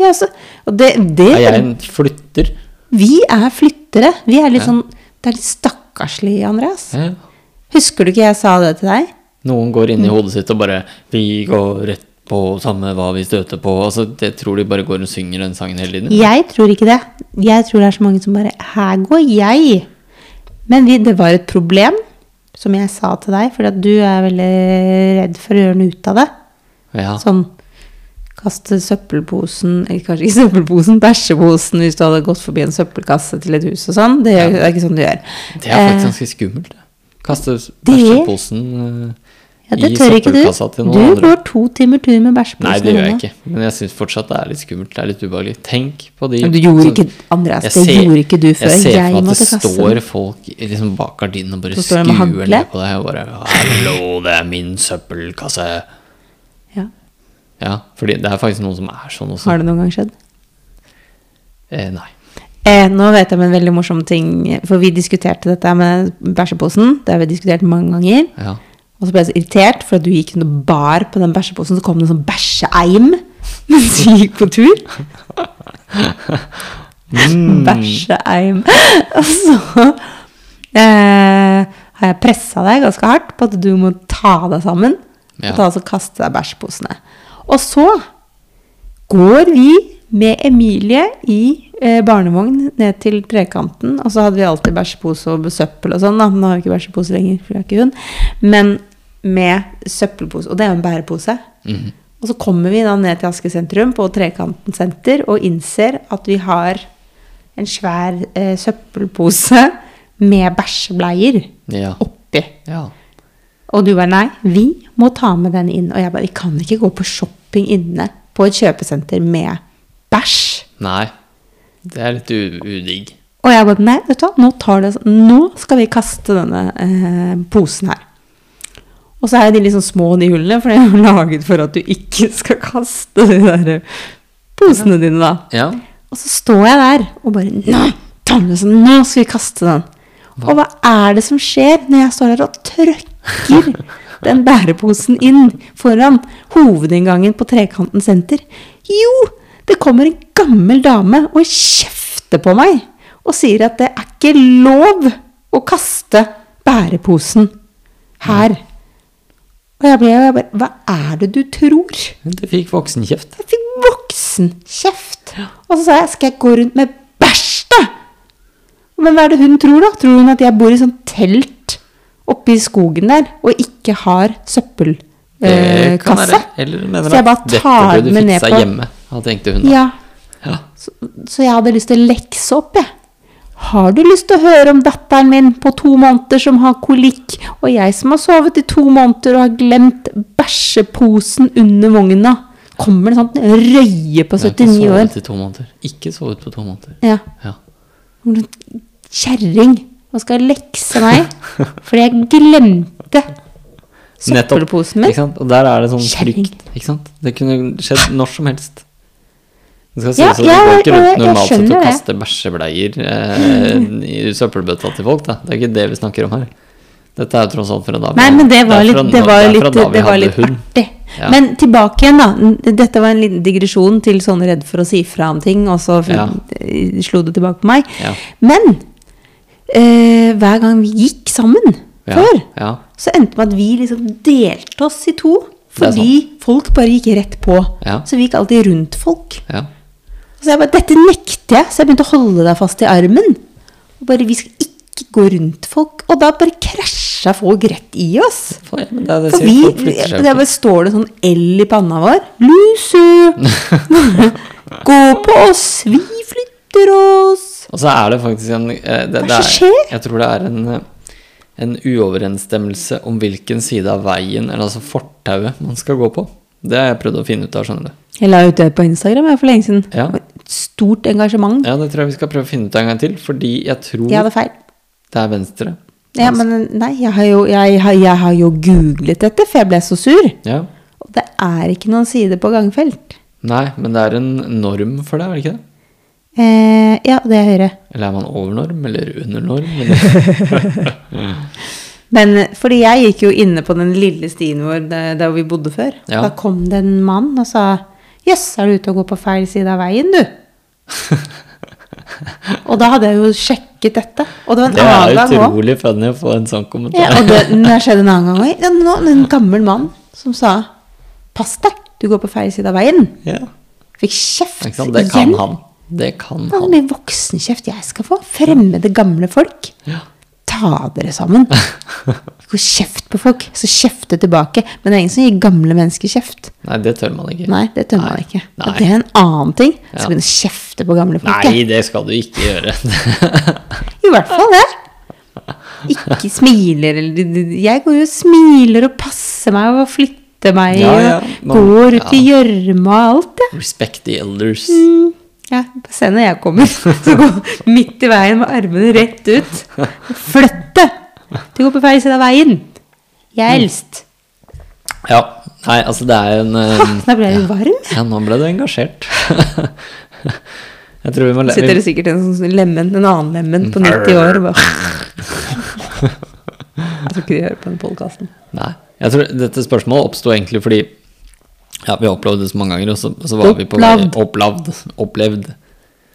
Speaker 2: ja, så, og det, det,
Speaker 1: Er jeg en flytter?
Speaker 2: Vi er flyttere. Vi er litt sånn Det er litt stakkarslig, Andreas.
Speaker 1: Ja.
Speaker 2: Husker du ikke jeg sa det til deg?
Speaker 1: Noen går inn i hodet sitt og bare 'Vi går rett på samme hva vi støter på'. Altså, det tror de bare går og synger den sangen hele tiden.
Speaker 2: Jeg tror ikke det. Jeg tror det er så mange som bare Her går jeg! Men vi, det var et problem, som jeg sa til deg, fordi at du er veldig redd for å gjøre noe ut av det.
Speaker 1: Ja.
Speaker 2: Sånn kaste søppelposen Eller kanskje ikke søppelposen, bæsjeposen hvis du hadde gått forbi en søppelkasse til et hus og sånn. Det er, det er ikke sånn du gjør.
Speaker 1: Det er faktisk
Speaker 2: Eh,
Speaker 1: ganske skummelt. det. Kaste
Speaker 2: det-
Speaker 1: bæsjeposen eh,
Speaker 2: ja, det
Speaker 1: i
Speaker 2: tør ikke du.
Speaker 1: søppelkassa til noen
Speaker 2: Du
Speaker 1: andre.
Speaker 2: går to timer tur med bæsjeposen
Speaker 1: Nei, det
Speaker 2: i
Speaker 1: gjør jeg
Speaker 2: hånda.
Speaker 1: ikke. Men jeg syns fortsatt det er litt skummelt. Det er litt ubehagelig. Tenk på de
Speaker 2: Men du gjorde
Speaker 1: som-
Speaker 2: ikke Andreas,
Speaker 1: Jeg
Speaker 2: det
Speaker 1: ser-
Speaker 2: gjorde ikke du før.
Speaker 1: Jeg ser
Speaker 2: Jeg
Speaker 1: for meg at
Speaker 2: måtte
Speaker 1: det
Speaker 2: kaste den.
Speaker 1: står folk liksom bak gardinen og bare
Speaker 2: Så står de med
Speaker 1: skuer
Speaker 2: hagle.
Speaker 1: ned på deg og bare 'Hallo, det er min søppelkasse'.
Speaker 2: Ja.
Speaker 1: Ja, fordi det er faktisk noen som er sånn også.
Speaker 2: Har det noen gang skjedd?
Speaker 1: Eh, nei.
Speaker 2: Eh, nå vet jeg om en veldig morsom ting, for vi diskuterte dette med bæsjeposen. Det har vi diskutert mange ganger.
Speaker 1: Ja.
Speaker 2: Og så ble jeg så irritert, for at du gikk noe bar på den bæsjeposen, så kom det en sånn bæsjeeim [laughs] mens vi gikk på tur. Bæsjeeim. [laughs] Og så eh, har jeg pressa deg ganske hardt på at du må ta deg sammen.
Speaker 1: Ja.
Speaker 2: Og ta, altså kaste deg bæsjeposene. Og så går vi med Emilie i eh, barnevogn ned til trekanten. Og så hadde vi alltid bæsjepose og søppel og sånn. da. Nå har vi ikke bæsjepose lenger, for vi har ikke hund. Men med søppelpose. Og det er jo en bærepose. Og så kommer vi da ned til Aske sentrum på Trekanten senter og innser at vi har en svær eh, søppelpose med bæsjebleier
Speaker 1: Ja.
Speaker 2: oppi.
Speaker 1: ja.
Speaker 2: Og du bare nei, vi må ta med den inn. Og jeg bare vi kan ikke gå på shopping inne på et kjøpesenter med bæsj.
Speaker 1: Nei. Det er litt u- udigg.
Speaker 2: Og jeg bare nei, vet du hva, nå, tar det, nå skal vi kaste denne eh, posen her. Og så er jo de litt sånn små, de hullene, for de er jo [laughs] laget for at du ikke skal kaste de der eh, posene dine, da.
Speaker 1: Ja.
Speaker 2: Og så står jeg der og bare Nei, Tannløsen, nå skal vi kaste den! Og hva er det som skjer når jeg står der og trøkker den bæreposen inn foran hovedinngangen på Trekanten senter? Jo, det kommer en gammel dame og kjefter på meg og sier at det er ikke lov å kaste bæreposen her. Og jeg ble jeg bare Hva er det du tror?
Speaker 1: Det fikk voksenkjeft.
Speaker 2: Jeg fikk voksen kjeft. Og så sa jeg, skal jeg gå rundt med bæsj, da? Men hva er det hun tror, da? Tror hun at jeg bor i sånn telt oppe i skogen der, og ikke har søppelkasse? Eh,
Speaker 1: Det kan
Speaker 2: kasse?
Speaker 1: være- Eller mener
Speaker 2: så jeg bare
Speaker 1: at dette
Speaker 2: tar
Speaker 1: burde
Speaker 2: den med ned
Speaker 1: fiksa
Speaker 2: på
Speaker 1: hjemme, da tenkte hun. da.
Speaker 2: Ja,
Speaker 1: Ja.
Speaker 2: så, så jeg hadde lyst til å lekse opp, jeg. Har du lyst til å høre om datteren min på to måneder som har kolikk, og jeg som har sovet i to måneder og har glemt bæsjeposen under vogna? Kommer det sånn røye
Speaker 1: Jeg
Speaker 2: på
Speaker 1: har ikke
Speaker 2: 79 år?
Speaker 1: sovet i to måneder. Ikke sovet på to måneder.
Speaker 2: Ja.
Speaker 1: Ja.
Speaker 2: Hvor du- Kjerring! Nå skal jeg lekse meg fordi jeg glemte søppelposen min.
Speaker 1: Ikke sant? Og der er det sånn
Speaker 2: Kjerring.
Speaker 1: frykt. Ikke sant? Det kunne skjedd når som helst. Det skal
Speaker 2: Ja,
Speaker 1: sies at
Speaker 2: ja,
Speaker 1: det går ikke
Speaker 2: ja,
Speaker 1: rundt
Speaker 2: jeg
Speaker 1: normalt sett
Speaker 2: skjønner
Speaker 1: å
Speaker 2: det.
Speaker 1: kaste bæsjebleier eh, i søppelbøtta til folk. Da. Det er ikke det vi snakker om her. Dette er jo tross alt fra da vi-
Speaker 2: Nei, men det var
Speaker 1: er
Speaker 2: litt,
Speaker 1: fra
Speaker 2: det
Speaker 1: nå-
Speaker 2: var
Speaker 1: er
Speaker 2: litt,
Speaker 1: fra da vi
Speaker 2: det var
Speaker 1: hadde
Speaker 2: litt
Speaker 1: hund.
Speaker 2: artig.
Speaker 1: Ja.
Speaker 2: Men tilbake igjen, da. Dette var en liten digresjon til sånn redd for å si fra om ting, og så
Speaker 1: Ja.
Speaker 2: eh, slo det tilbake på meg.
Speaker 1: Ja.
Speaker 2: Men eh, hver gang vi gikk sammen,
Speaker 1: Ja,
Speaker 2: før.
Speaker 1: Ja.
Speaker 2: Så endte det med at vi liksom delte oss i to.
Speaker 1: Det er sant.
Speaker 2: Fordi folk bare gikk rett på.
Speaker 1: Ja.
Speaker 2: Så vi gikk alltid rundt folk.
Speaker 1: ja.
Speaker 2: Så jeg bare, dette nekter jeg, så jeg begynte å holde deg fast i armen. Og bare, vi skal ikke gå rundt folk. Og da bare krasja folk rett i oss.
Speaker 1: Faen, ja, men det er det
Speaker 2: For
Speaker 1: sier-
Speaker 2: vi,
Speaker 1: folk flytter seg jo
Speaker 2: det
Speaker 1: ikke.
Speaker 2: bare står det sånn L i panna vår. Luse!
Speaker 1: [laughs]
Speaker 2: Gå på oss! Vi flytter oss!
Speaker 1: Og så er det faktisk en eh, det,
Speaker 2: Hva
Speaker 1: det er,
Speaker 2: skjer?
Speaker 1: Jeg tror det er en, eh, en uoverensstemmelse om hvilken side av veien, eller altså fortauet, man skal gå på. Det har jeg prøvd å finne ut av, skjønner du.
Speaker 2: Jeg la ut det på Instagram jeg, for lenge siden.
Speaker 1: Ja.
Speaker 2: Det var et Stort engasjement.
Speaker 1: Ja, det tror jeg vi skal prøve å finne ut av en gang til, fordi jeg tror
Speaker 2: Jeg hadde feil.
Speaker 1: det er venstre.
Speaker 2: Ja, men nei, jeg har, jo, jeg, har, jeg har jo googlet dette, for jeg ble så sur.
Speaker 1: Ja.
Speaker 2: Og det er ikke noen side på gangfelt.
Speaker 1: Nei, men det er en norm for det, er det ikke det?
Speaker 2: Eh, ja, det er høyre.
Speaker 1: Eller er man over norm, eller under norm? Eller?
Speaker 2: [laughs] Men eh, fordi jeg gikk jo inne på den lille stien vår der, der vi bodde før.
Speaker 1: Ja.
Speaker 2: Da kom det en mann og sa Jøss, er du ute og går på feil side av veien,
Speaker 1: [laughs]
Speaker 2: du? og da hadde jeg jo sjekket dette. Og det var en
Speaker 1: Det er
Speaker 2: annen gang òg.
Speaker 1: utrolig funny å få en sånn
Speaker 2: Ja,
Speaker 1: kommentar.
Speaker 2: og det, men det skjedde en annen gang òg. Nå en gammel mann som sa Pass deg, du går på feil side av veien.
Speaker 1: Ja.
Speaker 2: Fikk kjeft
Speaker 1: Ikke sant? Det kan han. Det kan
Speaker 2: Hvor
Speaker 1: han.
Speaker 2: mye voksenkjeft jeg skal få? Fremmede, gamle folk. Ta dere
Speaker 1: [laughs]
Speaker 2: sammen. Ikke kjeft på folk, så kjefte tilbake. Men det er ingen som gir gamle mennesker kjeft.
Speaker 1: Nei, det tør man ikke.
Speaker 2: Nei, det tør man
Speaker 1: Nei.
Speaker 2: ikke.
Speaker 1: Nei.
Speaker 2: Og det er en annen ting.
Speaker 1: Ja.
Speaker 2: Så begynne å kjefte på gamle folk.
Speaker 1: Nei, det skal du ikke gjøre. [laughs]
Speaker 2: I hvert fall det. Ikke smiler eller de- de- Jeg går jo og smiler og passer meg og flytter meg
Speaker 1: Ja, ja,
Speaker 2: og
Speaker 1: man-
Speaker 2: går ut
Speaker 1: ja.
Speaker 2: i gjørme og alt, jeg.
Speaker 1: Respect the elders.
Speaker 2: Ja, se når jeg
Speaker 1: [laughs]
Speaker 2: kommer, så går jeg midt i veien med armene rett ut. Flytte! Du går på feil side av veien. Jeg
Speaker 1: Mm.
Speaker 2: er eldst.
Speaker 1: Ja. Nei, altså det er en
Speaker 2: Ha, [laughs]
Speaker 1: eh,
Speaker 2: da ble jeg jo varm.
Speaker 1: Ja, nå ble du engasjert. [laughs] Jeg tror vi må le-
Speaker 2: Sitter
Speaker 1: vi-
Speaker 2: det sikkert en sånn lemen, en annen lemen
Speaker 1: Mm.
Speaker 2: på 90 år
Speaker 1: [laughs]
Speaker 2: og bare Jeg tror ikke de hører på den podkasten.
Speaker 1: Nei. Jeg tror dette spørsmålet oppsto egentlig fordi ja, vi har opplevd det så mange ganger, og så, så var vi på vei
Speaker 2: Opplavd.
Speaker 1: Opplavd. Opplevd.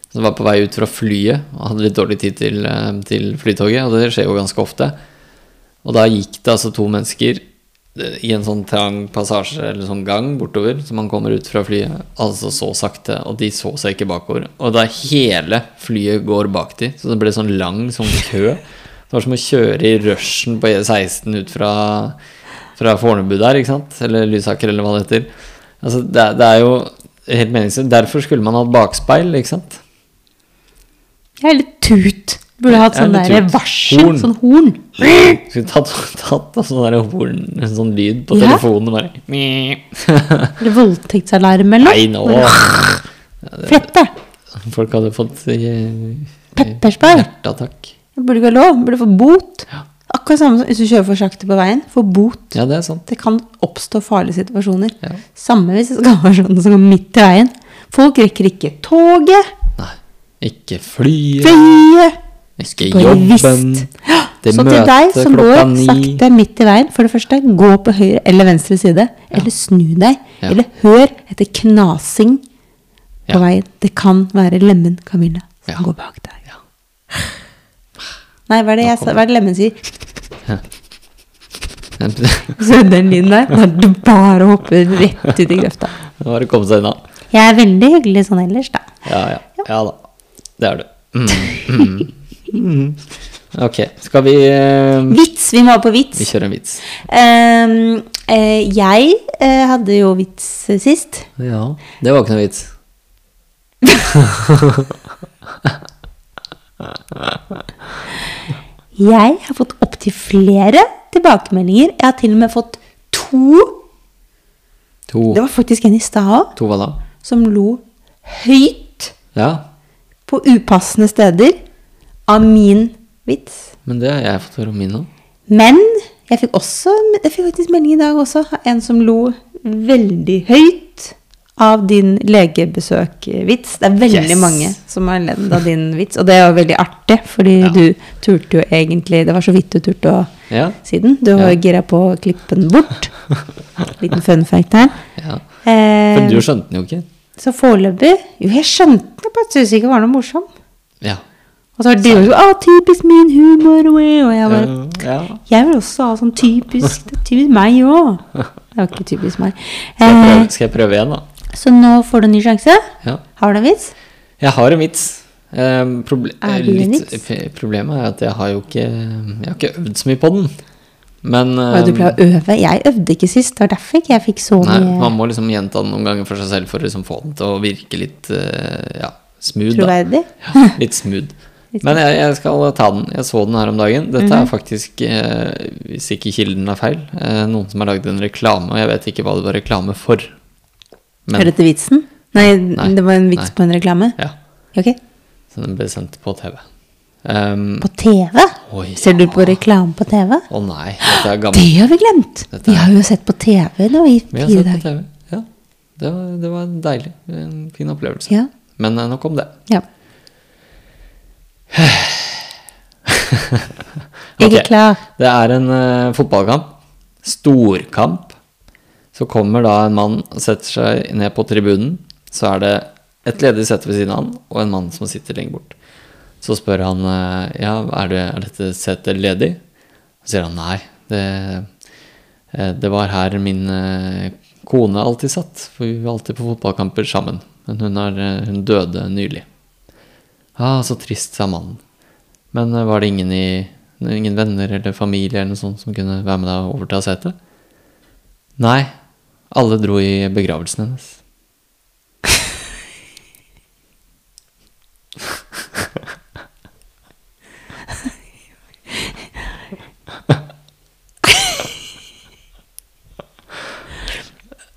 Speaker 1: Så var vi på vei ut fra flyet og hadde litt dårlig tid til, eh, til flytoget, og det skjer jo ganske ofte. Og da gikk det altså to mennesker eh, i en sånn trang passasje eller sånn gang bortover, så man kommer ut fra flyet, altså så sakte, og de så seg ikke bakover. Og da hele flyet går bak de, så det ble sånn lang sånn kø. Det var som å kjøre i rushen på E16 ut fra, fra Fornebu der, ikke sant? Eller Lysaker, eller hva det heter. Altså, det, er- det er jo helt meningsløst. Derfor skulle man hatt bakspeil, ikke sant?
Speaker 2: Jeg er litt tut. Burde hatt
Speaker 1: Jeg er
Speaker 2: sånn
Speaker 1: litt
Speaker 2: der
Speaker 1: tut.
Speaker 2: varsel.
Speaker 1: Horn.
Speaker 2: Sånn horn.
Speaker 1: Skulle tatt, tatt av sånn der horn, en sånn lyd på
Speaker 2: Ja.
Speaker 1: telefonen, og bare Mii.
Speaker 2: Eller voldtektsalarm eller
Speaker 1: Nei,
Speaker 2: noe.
Speaker 1: nå
Speaker 2: Flette.
Speaker 1: Folk hadde fått eh,
Speaker 2: Pepperspray.
Speaker 1: hjerteattakk.
Speaker 2: Det burde ikke være lov. Burde få bot. Akkurat samme som hvis du kjører for sakte på veien. Få bot.
Speaker 1: Ja, det er sant.
Speaker 2: Det kan oppstå farlige situasjoner.
Speaker 1: Ja.
Speaker 2: Samme hvis det skal være sånn som går midt i veien. Folk rekker ikke toget,
Speaker 1: Nei. Ikke flyet,
Speaker 2: flyet,
Speaker 1: ikke
Speaker 2: bare
Speaker 1: jobben.
Speaker 2: visst.
Speaker 1: Det
Speaker 2: Så til deg som går sakte midt i veien, for det første, gå på høyre eller venstre side. Eller snu deg.
Speaker 1: Ja.
Speaker 2: Eller hør etter knasing på
Speaker 1: Ja.
Speaker 2: veien. Det kan være lemmen Camilla som
Speaker 1: Ja.
Speaker 2: går bak deg. Nei, hva er det, jeg, sa- hva er det lemmen sier? Så den lyden der, da er det bare å hoppe rett ut i grøfta.
Speaker 1: [laughs] Nå har det kommet seg unna.
Speaker 2: Jeg er veldig hyggelig sånn ellers, da.
Speaker 1: Ja, ja. Ja da. Det er du. Mm. Mm. Mm. [laughs] Ok, skal vi eh,
Speaker 2: Vits! Vi må ha på vits.
Speaker 1: Vi kjører en vits.
Speaker 2: Ehm, eh, jeg eh, hadde jo vits eh, sist.
Speaker 1: Ja. Det var ikke noe vits.
Speaker 2: Jeg har fått opptil flere tilbakemeldinger. Jeg har til og med fått to.
Speaker 1: To.
Speaker 2: Det var faktisk en i stad òg,
Speaker 1: To hva da?
Speaker 2: som lo høyt
Speaker 1: Ja.
Speaker 2: på upassende steder av min vits.
Speaker 1: Men det har jeg fått høre om min nå.
Speaker 2: Men jeg fikk også jeg fikk faktisk melding i dag også, av en som lo veldig høyt av din legebesøk-vits. Det er veldig
Speaker 1: Yes.
Speaker 2: mange som har ledd av din vits, og det er jo veldig artig, fordi
Speaker 1: Ja.
Speaker 2: du turte jo egentlig Det var så vidt du turte å
Speaker 1: Ja.
Speaker 2: si den. Du var
Speaker 1: Ja.
Speaker 2: jo gira på å klippe den bort. Liten fun fact her.
Speaker 1: ja. Men
Speaker 2: Eh,
Speaker 1: du skjønte den jo ikke.
Speaker 2: så foreløpig Jo, jeg skjønte det, bare syntes ikke det var noe morsomt.
Speaker 1: Ja.
Speaker 2: Og så var det du som 'Å, typisk min humor', wee», og jeg bare
Speaker 1: Eh, ja.
Speaker 2: Jeg vil også ha sånn
Speaker 1: [laughs]
Speaker 2: typisk Det er typisk meg òg. Det var ikke typisk meg.
Speaker 1: Skal jeg,
Speaker 2: Eh,
Speaker 1: prøve, skal jeg prøve igjen, da?
Speaker 2: så nå får du en ny sjanse.
Speaker 1: Ja.
Speaker 2: Har du en vits?
Speaker 1: Jeg har en vits. Eh, proble
Speaker 2: Er det en
Speaker 1: litt-
Speaker 2: vits?
Speaker 1: p- Problemet er at jeg har jo ikke Jeg har ikke øvd så mye på den. Men
Speaker 2: Å, du
Speaker 1: eh,
Speaker 2: pleier å øve. Jeg øvde ikke sist. Det var derfor ikke jeg fikk så
Speaker 1: nei,
Speaker 2: mye
Speaker 1: man må liksom gjenta den noen ganger for seg selv for å liksom få den til å virke litt eh, ja, smooth. Da.
Speaker 2: troverdig. [laughs]
Speaker 1: Ja, litt smooth.
Speaker 2: Litt Mhm.
Speaker 1: Men jeg, jeg skal ta den. Jeg så den her om dagen. Dette er faktisk, eh, hvis ikke kilden er feil, eh, noen som har lagd en reklame, og jeg vet ikke hva det var reklame for. Men
Speaker 2: Hørte du vitsen? Nei,
Speaker 1: Nei.
Speaker 2: det var en vits
Speaker 1: Nei.
Speaker 2: på en reklame.
Speaker 1: ja,
Speaker 2: Ok.
Speaker 1: så den ble sendt på TV. Um,
Speaker 2: På TV?
Speaker 1: Oi,
Speaker 2: Ser du
Speaker 1: ja.
Speaker 2: på reklame på TV?
Speaker 1: Å nei, dette er
Speaker 2: Det
Speaker 1: gammelt.
Speaker 2: har vi glemt!
Speaker 1: Dette
Speaker 2: Vi
Speaker 1: er-
Speaker 2: har jo sett på TV nå i
Speaker 1: Vi har
Speaker 2: fire
Speaker 1: sett på
Speaker 2: dager.
Speaker 1: TV. Ja, det var, det var deilig. En fin opplevelse.
Speaker 2: Ja.
Speaker 1: Men eh, nok om det. [laughs]
Speaker 2: ja.
Speaker 1: Ok.
Speaker 2: Jeg er klar.
Speaker 1: Det er en eh, fotballkamp. Storkamp. Så kommer da en mann og setter seg ned på tribunen. Så er det et ledig sete ved siden av han, og en mann som sitter lenger bort. Så spør han eh, ja, er, det, er dette setet ledig. Så sier han nei. Det, eh, det var her min eh, kone alltid satt, for vi var alltid på fotballkamper sammen. Men hun, har, eh, hun døde nylig. Ja, ah, så trist, sa mannen. Men eh, var det ingen, i, ingen venner eller familie eller noe sånt som kunne være med deg og overta setet? Nei, alle dro i begravelsen hennes. [laughs]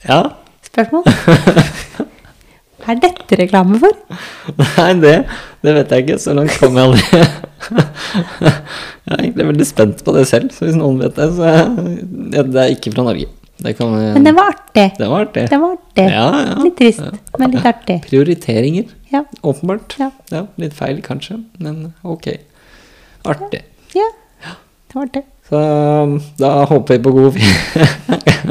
Speaker 1: ja,
Speaker 2: Spørsmål?
Speaker 1: [laughs]
Speaker 2: Hva er dette reklame for?
Speaker 1: nei, det, det vet jeg ikke. Så langt kom jeg aldri. [laughs] jeg er egentlig veldig spent på det selv, så hvis noen vet det, så ja, Det er ikke fra Norge. Det kan,
Speaker 2: Men det var artig.
Speaker 1: Det var artig.
Speaker 2: Det var artig.
Speaker 1: Ja, ja.
Speaker 2: Litt trist, men litt artig.
Speaker 1: Prioriteringer,
Speaker 2: Ja.
Speaker 1: åpenbart.
Speaker 2: Ja.
Speaker 1: litt feil kanskje, men ok. Artig.
Speaker 2: ja. Det var artig.
Speaker 1: Så um, da håper vi på god, fi-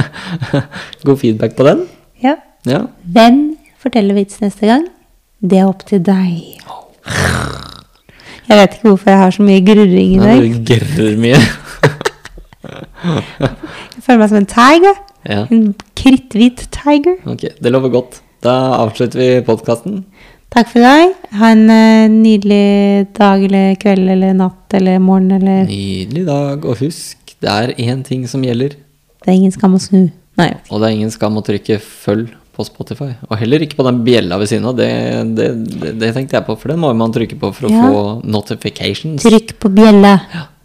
Speaker 1: [laughs] god feedback på den.
Speaker 2: Ja.
Speaker 1: Ja.
Speaker 2: Hvem forteller vits neste gang? Det er opp til deg. Jeg vet ikke hvorfor jeg har så mye grurring i dag.
Speaker 1: Du grør mye.
Speaker 2: Jeg føler meg som en tiger.
Speaker 1: Ja,
Speaker 2: En kritthvit tiger.
Speaker 1: ok. Det lover godt. Da avslutter vi podkasten.
Speaker 2: Takk for i dag. Ha en eh, nydelig dag eller kveld eller natt eller morgen eller
Speaker 1: Nydelig dag, og husk, det er én ting som gjelder,
Speaker 2: Det er ingen skam å snu. Nei.
Speaker 1: og det er ingen skam å trykke følg på Spotify. Og heller ikke på den bjella ved siden av, det, det, det, det tenkte jeg på, for den må man trykke på for å
Speaker 2: Ja.
Speaker 1: få notifications.
Speaker 2: Trykk på bjella.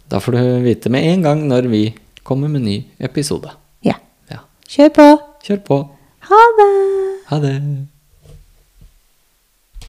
Speaker 1: Da får du vite med en gang når vi kommer med ny episode.
Speaker 2: Ja.
Speaker 1: Ja.
Speaker 2: Kjør på.
Speaker 1: Kjør på.
Speaker 2: Ha det!
Speaker 1: Ha det.